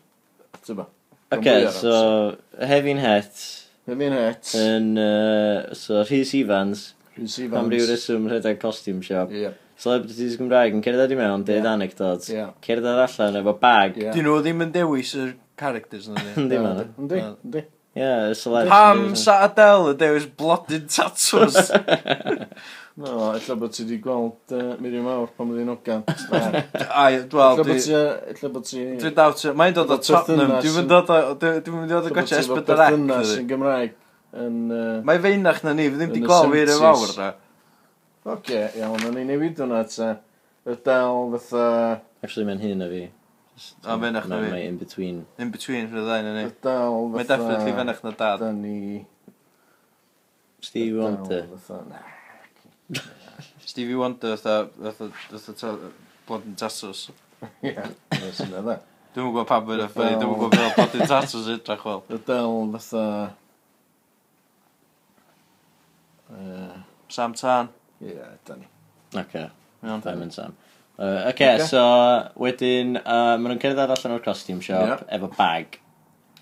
S4: Tyba.
S1: Oce, so Hefin Het
S4: Hefyd het,
S1: yn... yy, So Rhys Evans,
S4: Rhys
S1: am ryw
S4: Evans.
S1: reswm rhedeg costume shop.
S4: Ie,
S1: Celebrities Gymraeg yn cerdded i mewn, deud
S4: Ie.
S1: anecdotes.
S4: ie.
S1: Cerdded allan efo bag.
S4: Ie.
S5: Dyn nhw ddim yn dewis y characters yn yna.
S1: Yndi man.
S4: Yndi,
S5: Na.
S4: yndi.
S1: Ie, y celebrities.
S5: Pam sa Adele y dewis blodyn tatws?
S4: No, illa bod ti wedi gweld uh, Miriam Awr pan oedd hi'n ogan. Illa
S5: Ai, wel,
S4: bod
S5: dwi...
S4: ti... Illa bod ti...
S5: Dwi'n dawt, mae'n dod o
S4: Efo
S5: Tottenham,
S4: perthynas yn-
S5: dwi'n mynd dod o, dwi- dwi'n mynd dod o gotcha Esbydrec.
S4: Dynas yn Gymraeg. Yn... Uh,
S5: Mae feinach na ni, fydd ddim
S4: Yn
S5: di
S4: y
S5: gweld fi'r
S4: 70s.
S5: fawr da.
S4: Oce, iawn, o'n i newid hwnna ta. Y dal fatha...
S1: Actually, mae'n hyn o fi.
S5: A fenach na
S1: Mae-
S5: fi.
S1: Mae in between.
S5: In between rhywbeth ddain yn
S4: Y
S5: ni.
S4: dal fatha...
S5: Mae definitely fenach na dad.
S4: Da ni...
S1: Stevie Wonder.
S4: Fatha... Na.
S5: Stevie Wonder, fatha, fatha, fatha, Blodyn Tatws.
S4: Ie, nes yna dda.
S5: Dwi'n gwybod pam bod y ffynu, dwi'n gwybod beth Blodyn Tatws edrych fel.
S4: Y del fatha... Yy,
S5: Sam Tan.
S4: Ie, da ni.
S1: Okay.
S5: Iawn.
S1: Diamond Sam. Uh, okay,
S4: Ocê.
S1: so wedyn, uh, maen nhw'n cerdded allan o'r costume shop
S4: Ie.
S1: efo bag.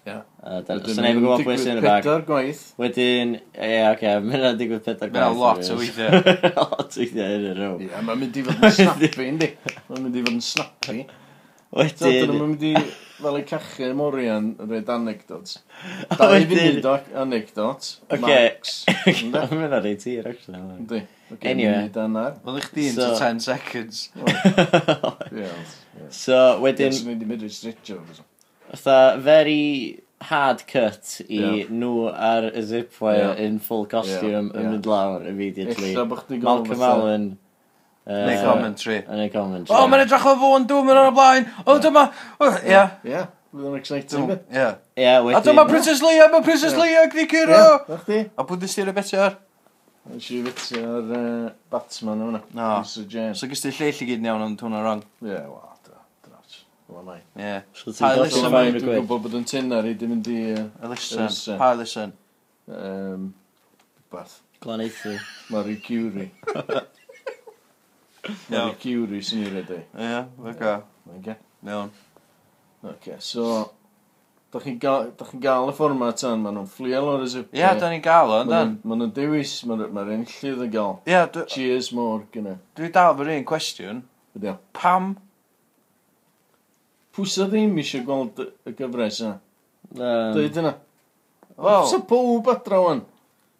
S4: Ie.
S1: Uh, da- so neb yn gwybod pwy sy'n y bag.
S4: Pedair gwaith.
S1: Wedyn, ie, oce, mae'n rhaid digwydd pedair
S5: Mae 'na lot o weithiau.
S1: lot o weithiau yn y row.
S4: Ie, mae'n mynd i fod yn snappy, yndi. Mae'n mynd i fod yn snappy. So, dyn
S1: Wedyn,
S4: nhw'n mynd i, fel ei cachu morian, reid anecdotes.
S1: A
S4: Da i
S1: wedyn-
S4: fynd o anecdotes.
S1: Ocê.
S4: Max. Ynde?
S1: mae'n rhaid i tir, actually.
S4: Yndi. Ocê,
S1: Anyway.
S4: ni'n neud hannar.
S5: Wel, i chdi
S1: So-
S5: into 10 seconds.
S4: Ie. Ie.
S1: so, wedyn,
S4: Swn i wedi mynd i stretcho.
S1: fatha, very hard cut i
S4: Ie.
S1: nhw ar y zip wire
S4: Ie.
S1: in full costume
S4: Ie.
S1: yn mynd lawr immediately.
S4: Ella bod chdi gweld
S1: Malcolm
S4: fatha-
S1: Allen. yy,
S5: Neu Oh, commentary.
S1: Yn ei comment.
S5: O, mae'n edrych o fo yn dŵm yn o'r blaen. O, dyma. O, Ie.
S4: Ie. Bydd o'n exciting.
S5: Dyma-
S4: bydd?
S5: Ie.
S1: Ie,
S5: A dyma
S1: wedyn...
S5: Princess Leia, mae Princess
S4: Ie.
S5: Leia gyda
S4: Ie.
S5: Ciro.
S4: Na chdi?
S5: A bwyd ystir y betiar?
S4: Nes i fitio ar uh, Batman yma.
S5: No.
S1: Ah.
S4: Mr James.
S5: So gysdi lleill i gyd yn iawn ond hwnna wrong.
S4: Ie, wel, da. Drat. Wel, mai.
S5: Ie.
S1: So ti'n gosod
S5: Tyler
S4: Dwi'n
S5: Listen, Summer
S1: fawr y
S4: gwybod
S1: gwyth.
S4: bod yn tynnar i ddim yn di...
S5: Elusen.
S4: Elusen.
S5: Pa elusen?
S4: Um, Bath.
S1: Glaneithi.
S4: Marie Curie. Marie
S5: Iawn.
S4: Curie sy'n i'r edrych.
S5: Ie. Oce.
S4: Okay.
S5: Iawn.
S4: okay, so... Da chi'n gael, da chi gael y fformat tan, maen nhw'n fflio lor y zip.
S5: Ie, da ni'n gael o, yndan.
S4: Maen nhw'n dewis, maen nhw'n enllydd yn gael.
S5: Ie, dwi
S4: Cheers more, gyna.
S5: dwi dal fy'r un cwestiwn.
S4: Ydy o.
S5: Pam?
S4: Pwysa ddim eisiau gweld y- y gyfres yna.
S1: Yym,
S4: Dweud yna.
S5: Wel-
S4: Pwysa pob adra wan.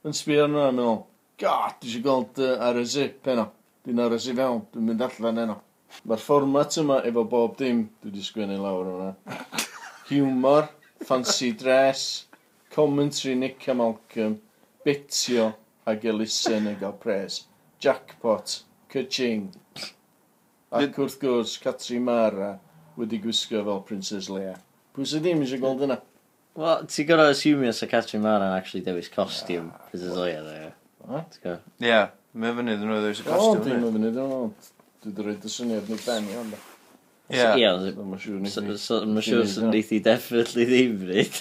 S4: Yn sbio arno a meddwl, God, dwi eisiau gweld uh, ar y zip heno. Dwi'n ar y zip fewn, dwi'n mynd allan heno. Mae'r fformat yma efo bob dim, dwi wedi sgwennu lawr yna. Humor, fancy dress, commentary Nick a Malcolm, bitio ac elusen yn gael pres. Jackpot, cyching. Ac wrth gwrs, Catri Mara wedi gwisgo fel Princess Leia. Pwy sydd ddim eisiau gweld yna?
S1: Wel, ti'n gorau asumio sa Catrin Mara'n actually dewis costiwm. Fes ys oia dda, ie.
S4: What?
S1: Ti'n gwbo?
S5: Ie. Mae fyny ddyn nhw ddewis y
S4: O, dim
S5: cwestiwn.
S4: yn fyny, dim ond. Dwi wedi rhoi y syniad ni ben i ond.
S5: Ie.
S1: So, Ie,
S4: Mae'n siŵr ni.
S1: so- so- mae'n siŵr sy'n neithi definitely ddim rhaid.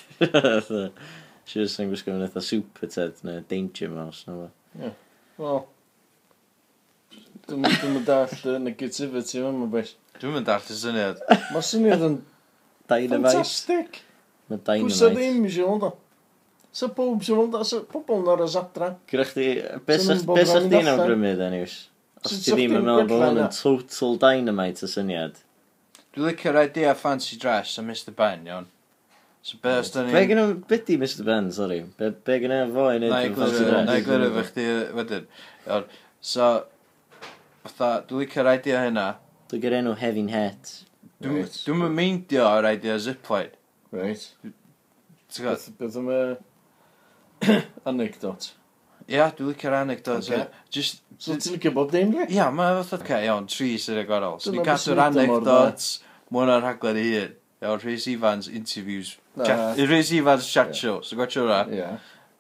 S1: Siŵr sy'n gwisgo yn eitha super ted neu danger mouse neu beth.
S4: Wel. Dwi'n mynd dall y negativity yma, mae'n beth.
S5: Dwi'n mynd dart y syniad.
S4: Mae'r syniad yn
S1: Dynamite.
S4: ffantastig.
S1: Mae
S4: Pwysa
S1: dynamite.
S4: ddim eisiau hwnda. Sa pob sy'n hwnda, sa pobl yn ar y zadra.
S1: Gyda chdi, beth
S4: Sa'm
S1: sa'ch
S4: bobl yn mynd
S1: di'n
S4: allan.
S1: awgrymu dda niws? Os
S4: Sut
S1: ti
S4: sa'ch
S1: ddim yn
S4: di'n
S1: meddwl bod
S4: gwella
S1: hwn yn
S4: hynna?
S1: total dynamite y syniad.
S5: Dwi'n licio'r idea fancy dress a Mr Ben, iawn. So be os da ni...
S1: Be gynnu, beth di Mr Ben, sori? Be, be gynnu fo i
S5: Na
S1: wneud
S5: i
S1: yn fancy
S5: glyru,
S4: dress.
S5: na i
S1: dress?
S5: glyru fe chdi wedyn. Iawn. So, fatha, dwi'n licio'r idea hynna.
S1: Dwi'n gyda enw Heavy Het.
S5: Dwi'n
S4: Reit.
S5: dwi'n mynd meindio o'r idea zipline.
S4: Reit.
S5: Ti'n gwybod?
S4: Beth beth am y anecdot.
S5: Ia, dwi'n licio'r anecdote.
S4: Ocê.
S5: Okay. Just,
S4: So ti'n licio bob dim, dwi?
S5: ia, mae fatha, okay, iawn, tri sy'n y gwarol. So,
S4: Dyna
S5: ni'n
S4: beth sy'n
S5: cadw'r
S4: neud o mor dda.
S5: anecdotes, mwyn o'r rhaglen i hyn. Iawn, Rhys Ifans interviews.
S4: Na.
S5: chat- Rhys Ifans chat show, so gwaethaf hwnna.
S4: Ie.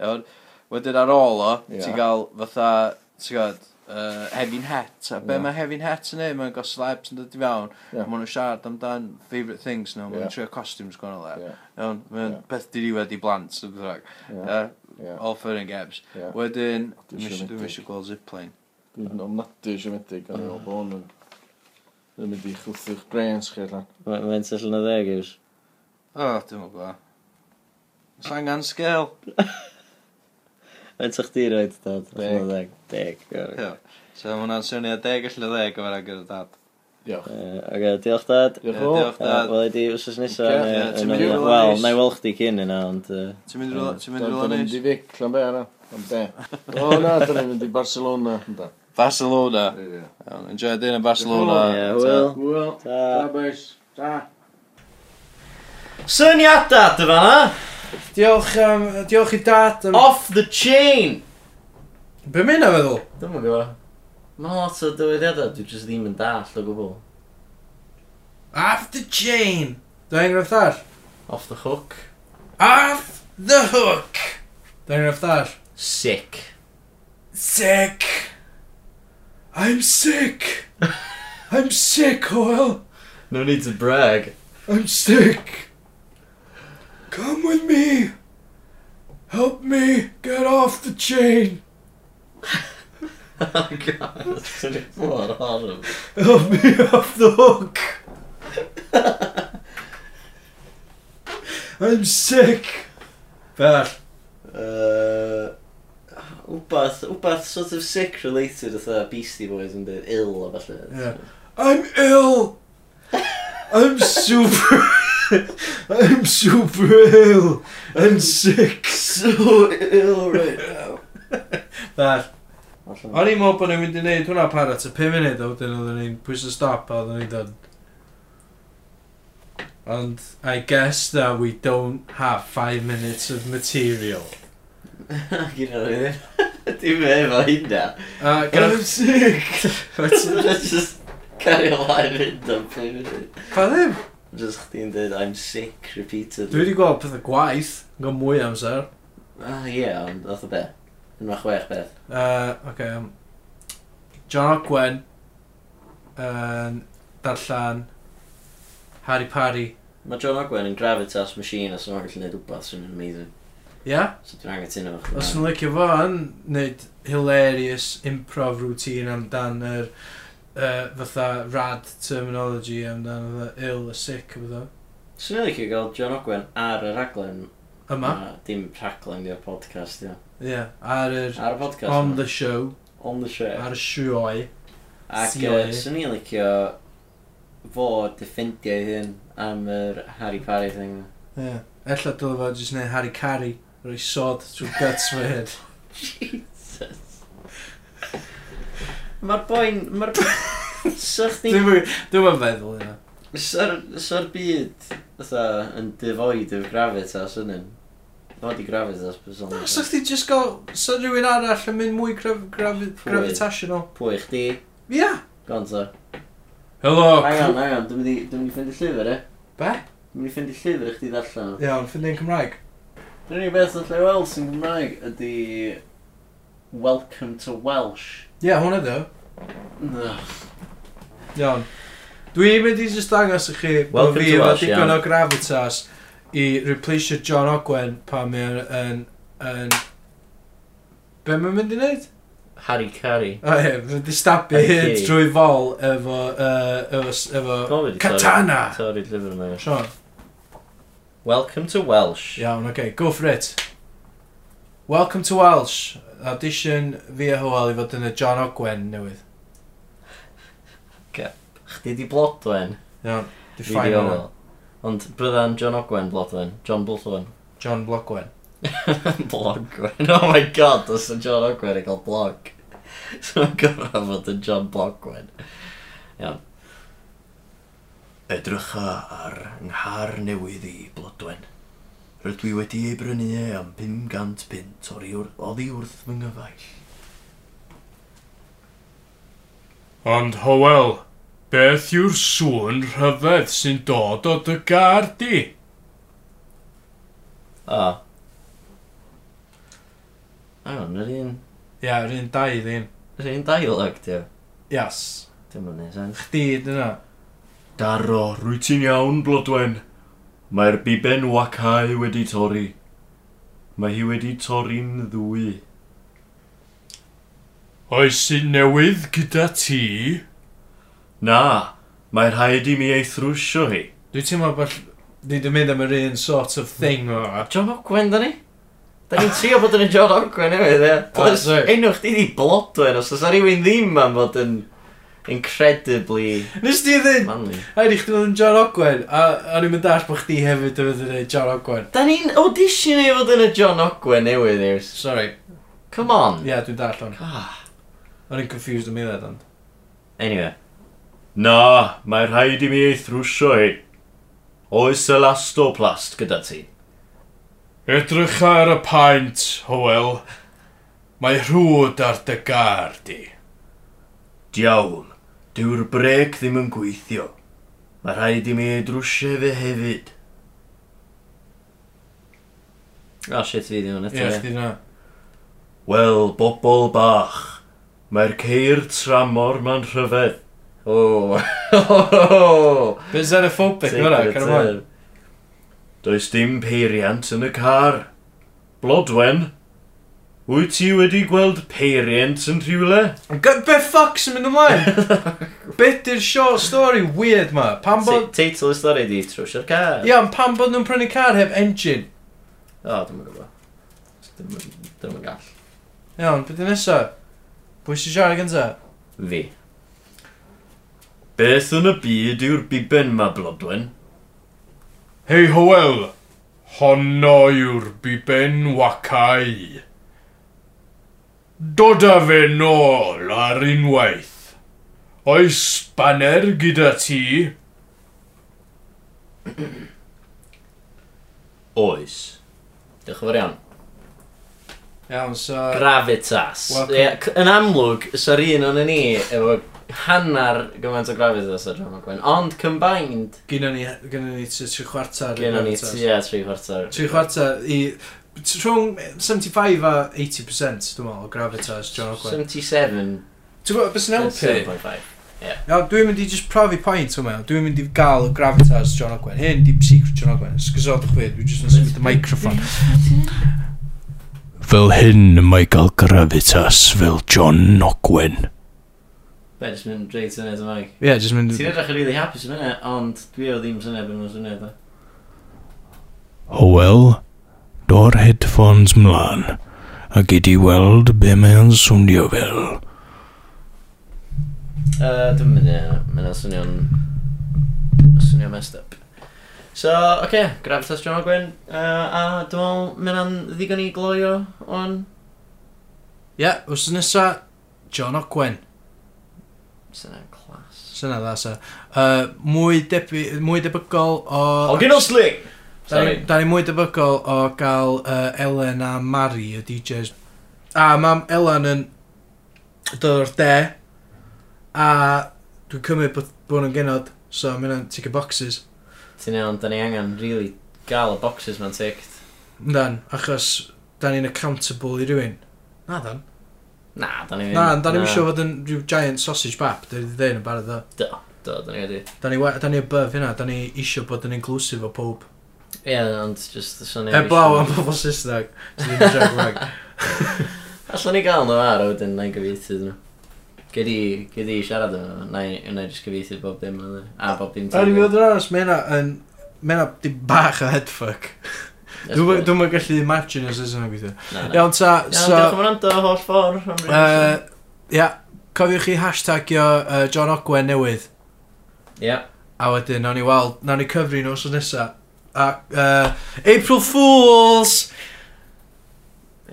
S5: Iawn. Wedyn ar ôl o,
S4: Ie.
S5: ti'n gael fatha, ti'n gwybod, uh, Hefin Het. A be
S4: Ie.
S5: mae Hefin Het yn ei, mae'n gael slabs yn dod i fewn.
S4: Ie.
S5: Yeah. Mae nhw'n siarad amdan favourite things nhw, mae
S4: Ie.
S5: nhw'n trio costumes gwahanol le.
S4: Ie.
S5: Iawn, mae'n
S4: Ie.
S5: beth diriwed i blant, sy'n ddrog.
S4: Ie.
S5: Ie,
S4: Ie.
S5: all fun and games.
S4: Ie.
S5: Wedyn,
S4: Dwi'n
S5: dwi'n
S4: siomedig.
S5: eisiau gweld zipline.
S4: Dwi'n ofnadwy eisiau medig, ond i'n meddwl bod hwn yn... Yn mynd i chwthio'ch brains chi allan.
S1: Mae'n sell yn y ddeg yw'r...
S5: O, dwi'n mwyn gweld. Os angen sgil.
S1: Mae'n sech di roed, dad. Allan o
S4: Deg.
S1: ddeg. Deg. iawn.
S5: Ie. So mae hwnna'n swnio deg allan o ddeg o fan gyda dad.
S4: Diolch.
S1: Yy, Oce, diolch dad.
S5: Ie,
S4: Diolch yn fawr.
S5: Diolch dad.
S1: Wel, ydi, wrth nesa...
S4: Ocê,
S5: ie, ti'n mynd i
S1: Eh,
S5: rywle
S1: nou, Wel,
S5: neis.
S1: na i weld chdi cyn yna, ond... yy,
S5: Ti'n mynd i rwla- ti'n mynd i
S4: Dwi'n
S5: rwla
S4: mynd
S5: neis?
S4: i fic, lan be ara. Lan be. O na, dwi'n mynd i Barcelona. yndan.
S5: Barcelona.
S4: Ie.
S5: Iawn, Enjoy dyn yn Barcelona.
S1: Ie, wel.
S4: Wel,
S1: Ta.
S4: boys. Ta.
S1: Syniadad yma na!
S2: Diolch, um, diolch i dad am...
S1: Off the chain!
S2: Be mynd a feddwl?
S1: Dwi'n mwyn gwybod. Mae lot o dywediadau, dwi jyst ddim yn dall o gwbl.
S2: Off the chain! Dwi'n enghraifft ar?
S1: Off the hook.
S2: Off the hook! Dwi'n enghraifft ar?
S1: Sick.
S2: Sick! I'm sick! I'm sick, Hoel.
S1: No need to brag.
S2: I'm sick. Come with me. Help me get off the chain.
S1: oh god, what horrible.
S2: Help me off the hook. I'm sick. Fel.
S1: Uh, wbath, wbath sort of sick related oedd Beastie Boys yn dweud ill a falle.
S2: Yeah. I'm ill. I'm super. I'm super ill. I'm sick.
S1: So ill right now.
S2: Fel.
S1: Allan.
S2: O'n i'n meddwl bod ni'n mynd i wneud hwnna pan at y 5 munud a wedyn oedden ni'n pwys y stop a oedden ni'n dod. Ond I guess that we don't have 5 minutes of material.
S1: Gyda ni ddim. Dim efo hynna.
S2: Uh, I'm sick!
S1: Let's just carry ymlaen mynd am pum munud.
S2: Pa ddim?
S1: Just chdi'n dweud I'm sick repeatedly.
S2: Dwi wedi gweld pethau gwaith, gan mwy amser.
S1: Ah ie, ond oedd y be. Yn ma chwech beth.
S2: Uh, okay, um, John Ogwen yn darllen Harry Parry.
S1: Mae John Ogwen yn Gravitas Machine os yna'n gallu gwneud wbath sy'n amazing.
S2: Ia? Yeah?
S1: So dwi'n angen tyn efo
S2: Os
S1: chdi.
S2: yn licio fo yn wneud hilarious improv routine amdan yr uh, fatha rad terminology amdan fatha ill a sick a fatha.
S1: Swn i'n licio gael John Ogwen ar y raglen.
S2: Yma.
S1: Na, Dim raglen, di'r podcast, ia.
S2: Ie. Yeah. Ar yr
S1: Ar y podcast.
S2: on
S1: ma.
S2: the show.
S1: On the show.
S2: Ar y sioi.
S1: Ac
S2: See
S1: uh,
S2: you.
S1: swn i'n licio fo defendio ei hun am yr Harry Parry thing.
S2: Ie. Yeah. Ella dyle fo jyst wneud Harry Carry. Rwy'n sod trwy guts fy hyn.
S1: Mae'r boi'n... Mae'r... So chdi'n...
S2: Dwi'n feddwl yna.
S1: So'r byd fatha yn devoid of gravitas yn un. Fo di gravitas person.
S2: Na, sa chdi just gael, sa rhywun arall yn mynd mwy graf, graf,
S1: Pwy?
S2: gravitational.
S1: Pwy chdi?
S2: Ia. Yeah.
S1: Gonzo.
S2: Helo.
S1: Hang on, hang on, dwi'n mynd i- dwi'n mynd i ffindi llyfr e.
S2: Be?
S1: Dwi'n mynd i ffindi llyfr i chdi ddarllen. o.
S2: Iawn, ffynd ein Cymraeg.
S1: Dyna'r unig beth allai weld sy'n Gymraeg ydy... Welcome to Welsh.
S2: Ie, yeah, hwnna ddo.
S1: No.
S2: Iawn. Dwi'n mynd i just dangos i chi bod
S1: Welcome
S2: fi
S1: to
S2: efo
S1: Welsh,
S2: digon
S1: iawn.
S2: o gravitas i replaceio John Ogwen pan mae'n yn... yn... Be mae'n mynd i wneud?
S1: Harry Carey.
S2: O ie, mae'n mynd i stabu
S1: Harry
S2: hyn
S1: Carey.
S2: drwy fol efo... Uh, efo... s- efo...
S1: Gofyd i
S2: Katana!
S1: Torri'r llyfr yma.
S2: Sean.
S1: Welcome to Welsh.
S2: Iawn, oce, okay, go for it. Welcome to Welsh. Audition fi a Hywel i fod yn y John Ogwen newydd.
S1: Chdi di Blodwen.
S2: Iawn, di
S1: Fi di
S2: ffain yna.
S1: Owel. Ond bryddan John Ogwen Blodwen. John Blodwen.
S2: John Blogwen.
S1: Blogwen. Oh my god, os y John Ogwen yn cael blog. So mae'n gyfra fod yn John Blogwen. Iawn. Edrycha ar nghar newydd i Blodwen. Rydw i wedi ei brynu e am 500 pint o'r i wrth, oddi wrth fy nghyfaill.
S2: Ond Hywel, beth yw'r sŵn rhyfedd sy'n dod o dy gardi?
S1: O. Iawn, yr un...
S2: Ia, yr un dau ddim.
S1: Yr un dialog, ti o.
S2: Yes.
S1: Dim yn neud sens.
S2: Chdi, dyna.
S6: Daro, rwy ti'n iawn, Blodwen. Mae'r biben wacau wedi torri. Mae hi wedi torri'n ddwy.
S2: Oes sy'n newydd gyda ti?
S6: Na, mae rhaid i mi ei thrwsio hi.
S2: Dwi'n teimlo bod ni wedi mynd am yr un sort of thing o.
S1: John Ogwen, da ni? Da ni'n trio bod yn y John Ogwen newydd, ie. Plus,
S2: sorry.
S1: enw chdi di Blodwen, os oes rhywun ddim am fod yn incredibly
S2: Nes di ddyn
S1: manly.
S2: Haid i chdi fod yn John Ogwen, a o'n i'n mynd all bod chdi hefyd yn fydd yn neud John Ogwen.
S1: Da ni'n audition i fod yn y John Ogwen newydd, Iws.
S2: Sorry.
S1: Come on.
S2: Ie, yeah, dwi'n dall o'n.
S1: Ah.
S2: O'n i'n confused am eilad ond.
S1: Anyway.
S6: Na, mae rhaid i mi ei thrwsio hi. Oes elastoplast gyda ti?
S2: Edrych ar y paent, Howell. Mae rhwyd ar dy gar di.
S6: Diawn, dyw'r brec ddim yn gweithio. Mae rhaid i mi ei drwsio fe hefyd.
S1: Oh, shit, fi ddim yn
S2: Ie,
S1: eto.
S2: chdi na.
S6: Wel, bobl bach, mae'r ceir tramor ma'n rhyfedd.
S1: O. O.
S2: Byn xenophobic
S1: Take
S2: fyna,
S1: the
S2: can ymlaen.
S1: turn.
S6: Does dim peiriant yn y car. Blodwen, wyt ti wedi gweld peiriant yn rhywle?
S2: G- Be ffoc sy'n mynd ymlaen? Be di'r short story weird ma? Pan bod...
S1: Ti- Teitl y stori di, trwsio'r car.
S2: Ia, ond pan bod nhw'n prynu car heb engine?
S1: O, dwi'n gwybod. Dwi'n yn gall.
S2: Ia, ond beth nesa? Pwy sy'n siarad gynta?
S1: Fi.
S6: Beth yn y byd yw'r biben ma Blodwen?
S2: Hei Howell, honno yw'r biben wacau. Dod â fe nôl ar unwaith. Oes banner gyda ti?
S6: Oes.
S1: Diolch yn fawr iawn.
S2: Iawn, so...
S1: Gravitas.
S2: Welcome.
S1: Ie, c- Yn amlwg, sa'r un o'n ni efo hannar gymaint o gravitas ar John McGuinn. Ond combined,
S2: Gynna ni, gynna ni t- tri chwarter.
S1: gen o'n ni tua tri chwarter.
S2: Tri chwarter i... t- Rhwng 75 a 80% dwi'n meddwl o gravitas, John Ogwen.
S1: 77.
S2: Ti'n gwybod beth sy'n helpu?
S1: 7.5.
S2: Iawn, dwi'n mynd i just profi pwynt o'n meddwl. Dwi'n mynd i gael y gravitas John Ogwen. Hyn di secret John Ogwen. Sgysodwch fi, dwi'n just yn symud y microphone.
S7: Fel hyn mae gael gravitas fel John Ogwen.
S1: Be, jyst mynd reit yn edrych yn
S2: Ie, just mynd...
S1: Ti'n edrych yn really happy sy'n hynny, ond dwi o ddim sy'n ebyn nhw'n sy'n edrych.
S7: Howell, do'r headphones mlaen, a gei di weld be mae'n swnio fel.
S1: Uh, dwi'n mynd i mae'n swnio'n... swnio'n messed up. So, oce, okay, Gravitas John Ogwen, uh, a dwi'n meddwl, mae'n ddigon i gloio o'n
S2: Ie, wrth nesa, John Ogwen.
S1: sy'n edrych clas.
S2: Syna dda, sa. Uh, mwy, debu, mwy debygol o...
S1: Ogyn o sling!
S2: Da
S1: Sorry.
S2: ni, da ni mwy debygol o gael uh, Ellen a Mari y DJs. A mam Ellen yn dod o'r de. A dwi'n cymryd bod bod nhw'n genod. So mae hwnna'n tick y boxes.
S1: Ti'n iawn, da ni angen really gael y boxes ma'n ticked.
S2: Dan, achos da ni'n accountable i rywun. Na dan.
S1: Na, da ni...
S2: Na, da ni'n siŵr fod yn rhyw giant sausage bap. Da ni'n dweud yn barod o.
S1: Do, do, da ni wedi.
S2: Da ni, we- da ni above hynna, da ni isio bod yn inclusive o pob.
S1: Ie, ond just y swnio...
S2: Heblaw am pobl Saesneg, sydd ddim yn siarad Cymraeg.
S1: Allan ni gael nhw ar, a wedyn na i gyfeithi nhw. Gedi, gedi siarad yn nhw, na i- na i just gyfeithi bob dim yn nhw. A bob dim
S2: A ni fod yn aros, mae hynna yn... Mae hynna di bach o headfuck. Dwi'n dwi'n mynd gallu imagine os ydyn nhw'n gweithio.
S1: Iawn,
S2: Iawn ta,
S1: diolch
S2: so...
S1: am wrando holl ffordd. am
S2: yy,
S1: rywun.
S2: Ia, cofiwch chi hashtagio yy, John Ogwen newydd.
S1: Ie.
S2: A wedyn, nawn ni weld, nawn ni cyfri nhw os nesa. A, uh, April Fools!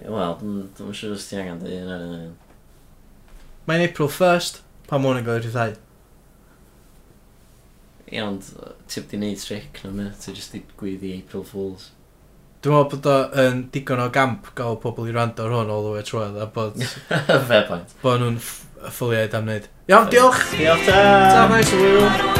S1: Wel, dwi'n dwi'n siŵr os ti angen dweud yna. yna, yna.
S2: Mae'n April 1st, pan mwyn yn gael i'r ddau.
S1: Ie, ond yy, ti wedi gwneud trick na mi, ti jyst wedi gwyddi April Fools.
S2: Dwi'n meddwl bod o'n digon o gamp gael pobl i rando ar hwn all the way trwy'r a bod,
S1: Fair point.
S2: bod nhw'n ff- ffoliau am wneud. Iawn, diolch!
S1: Diolch ta!
S2: Ta, nice, Will!
S8: Bye.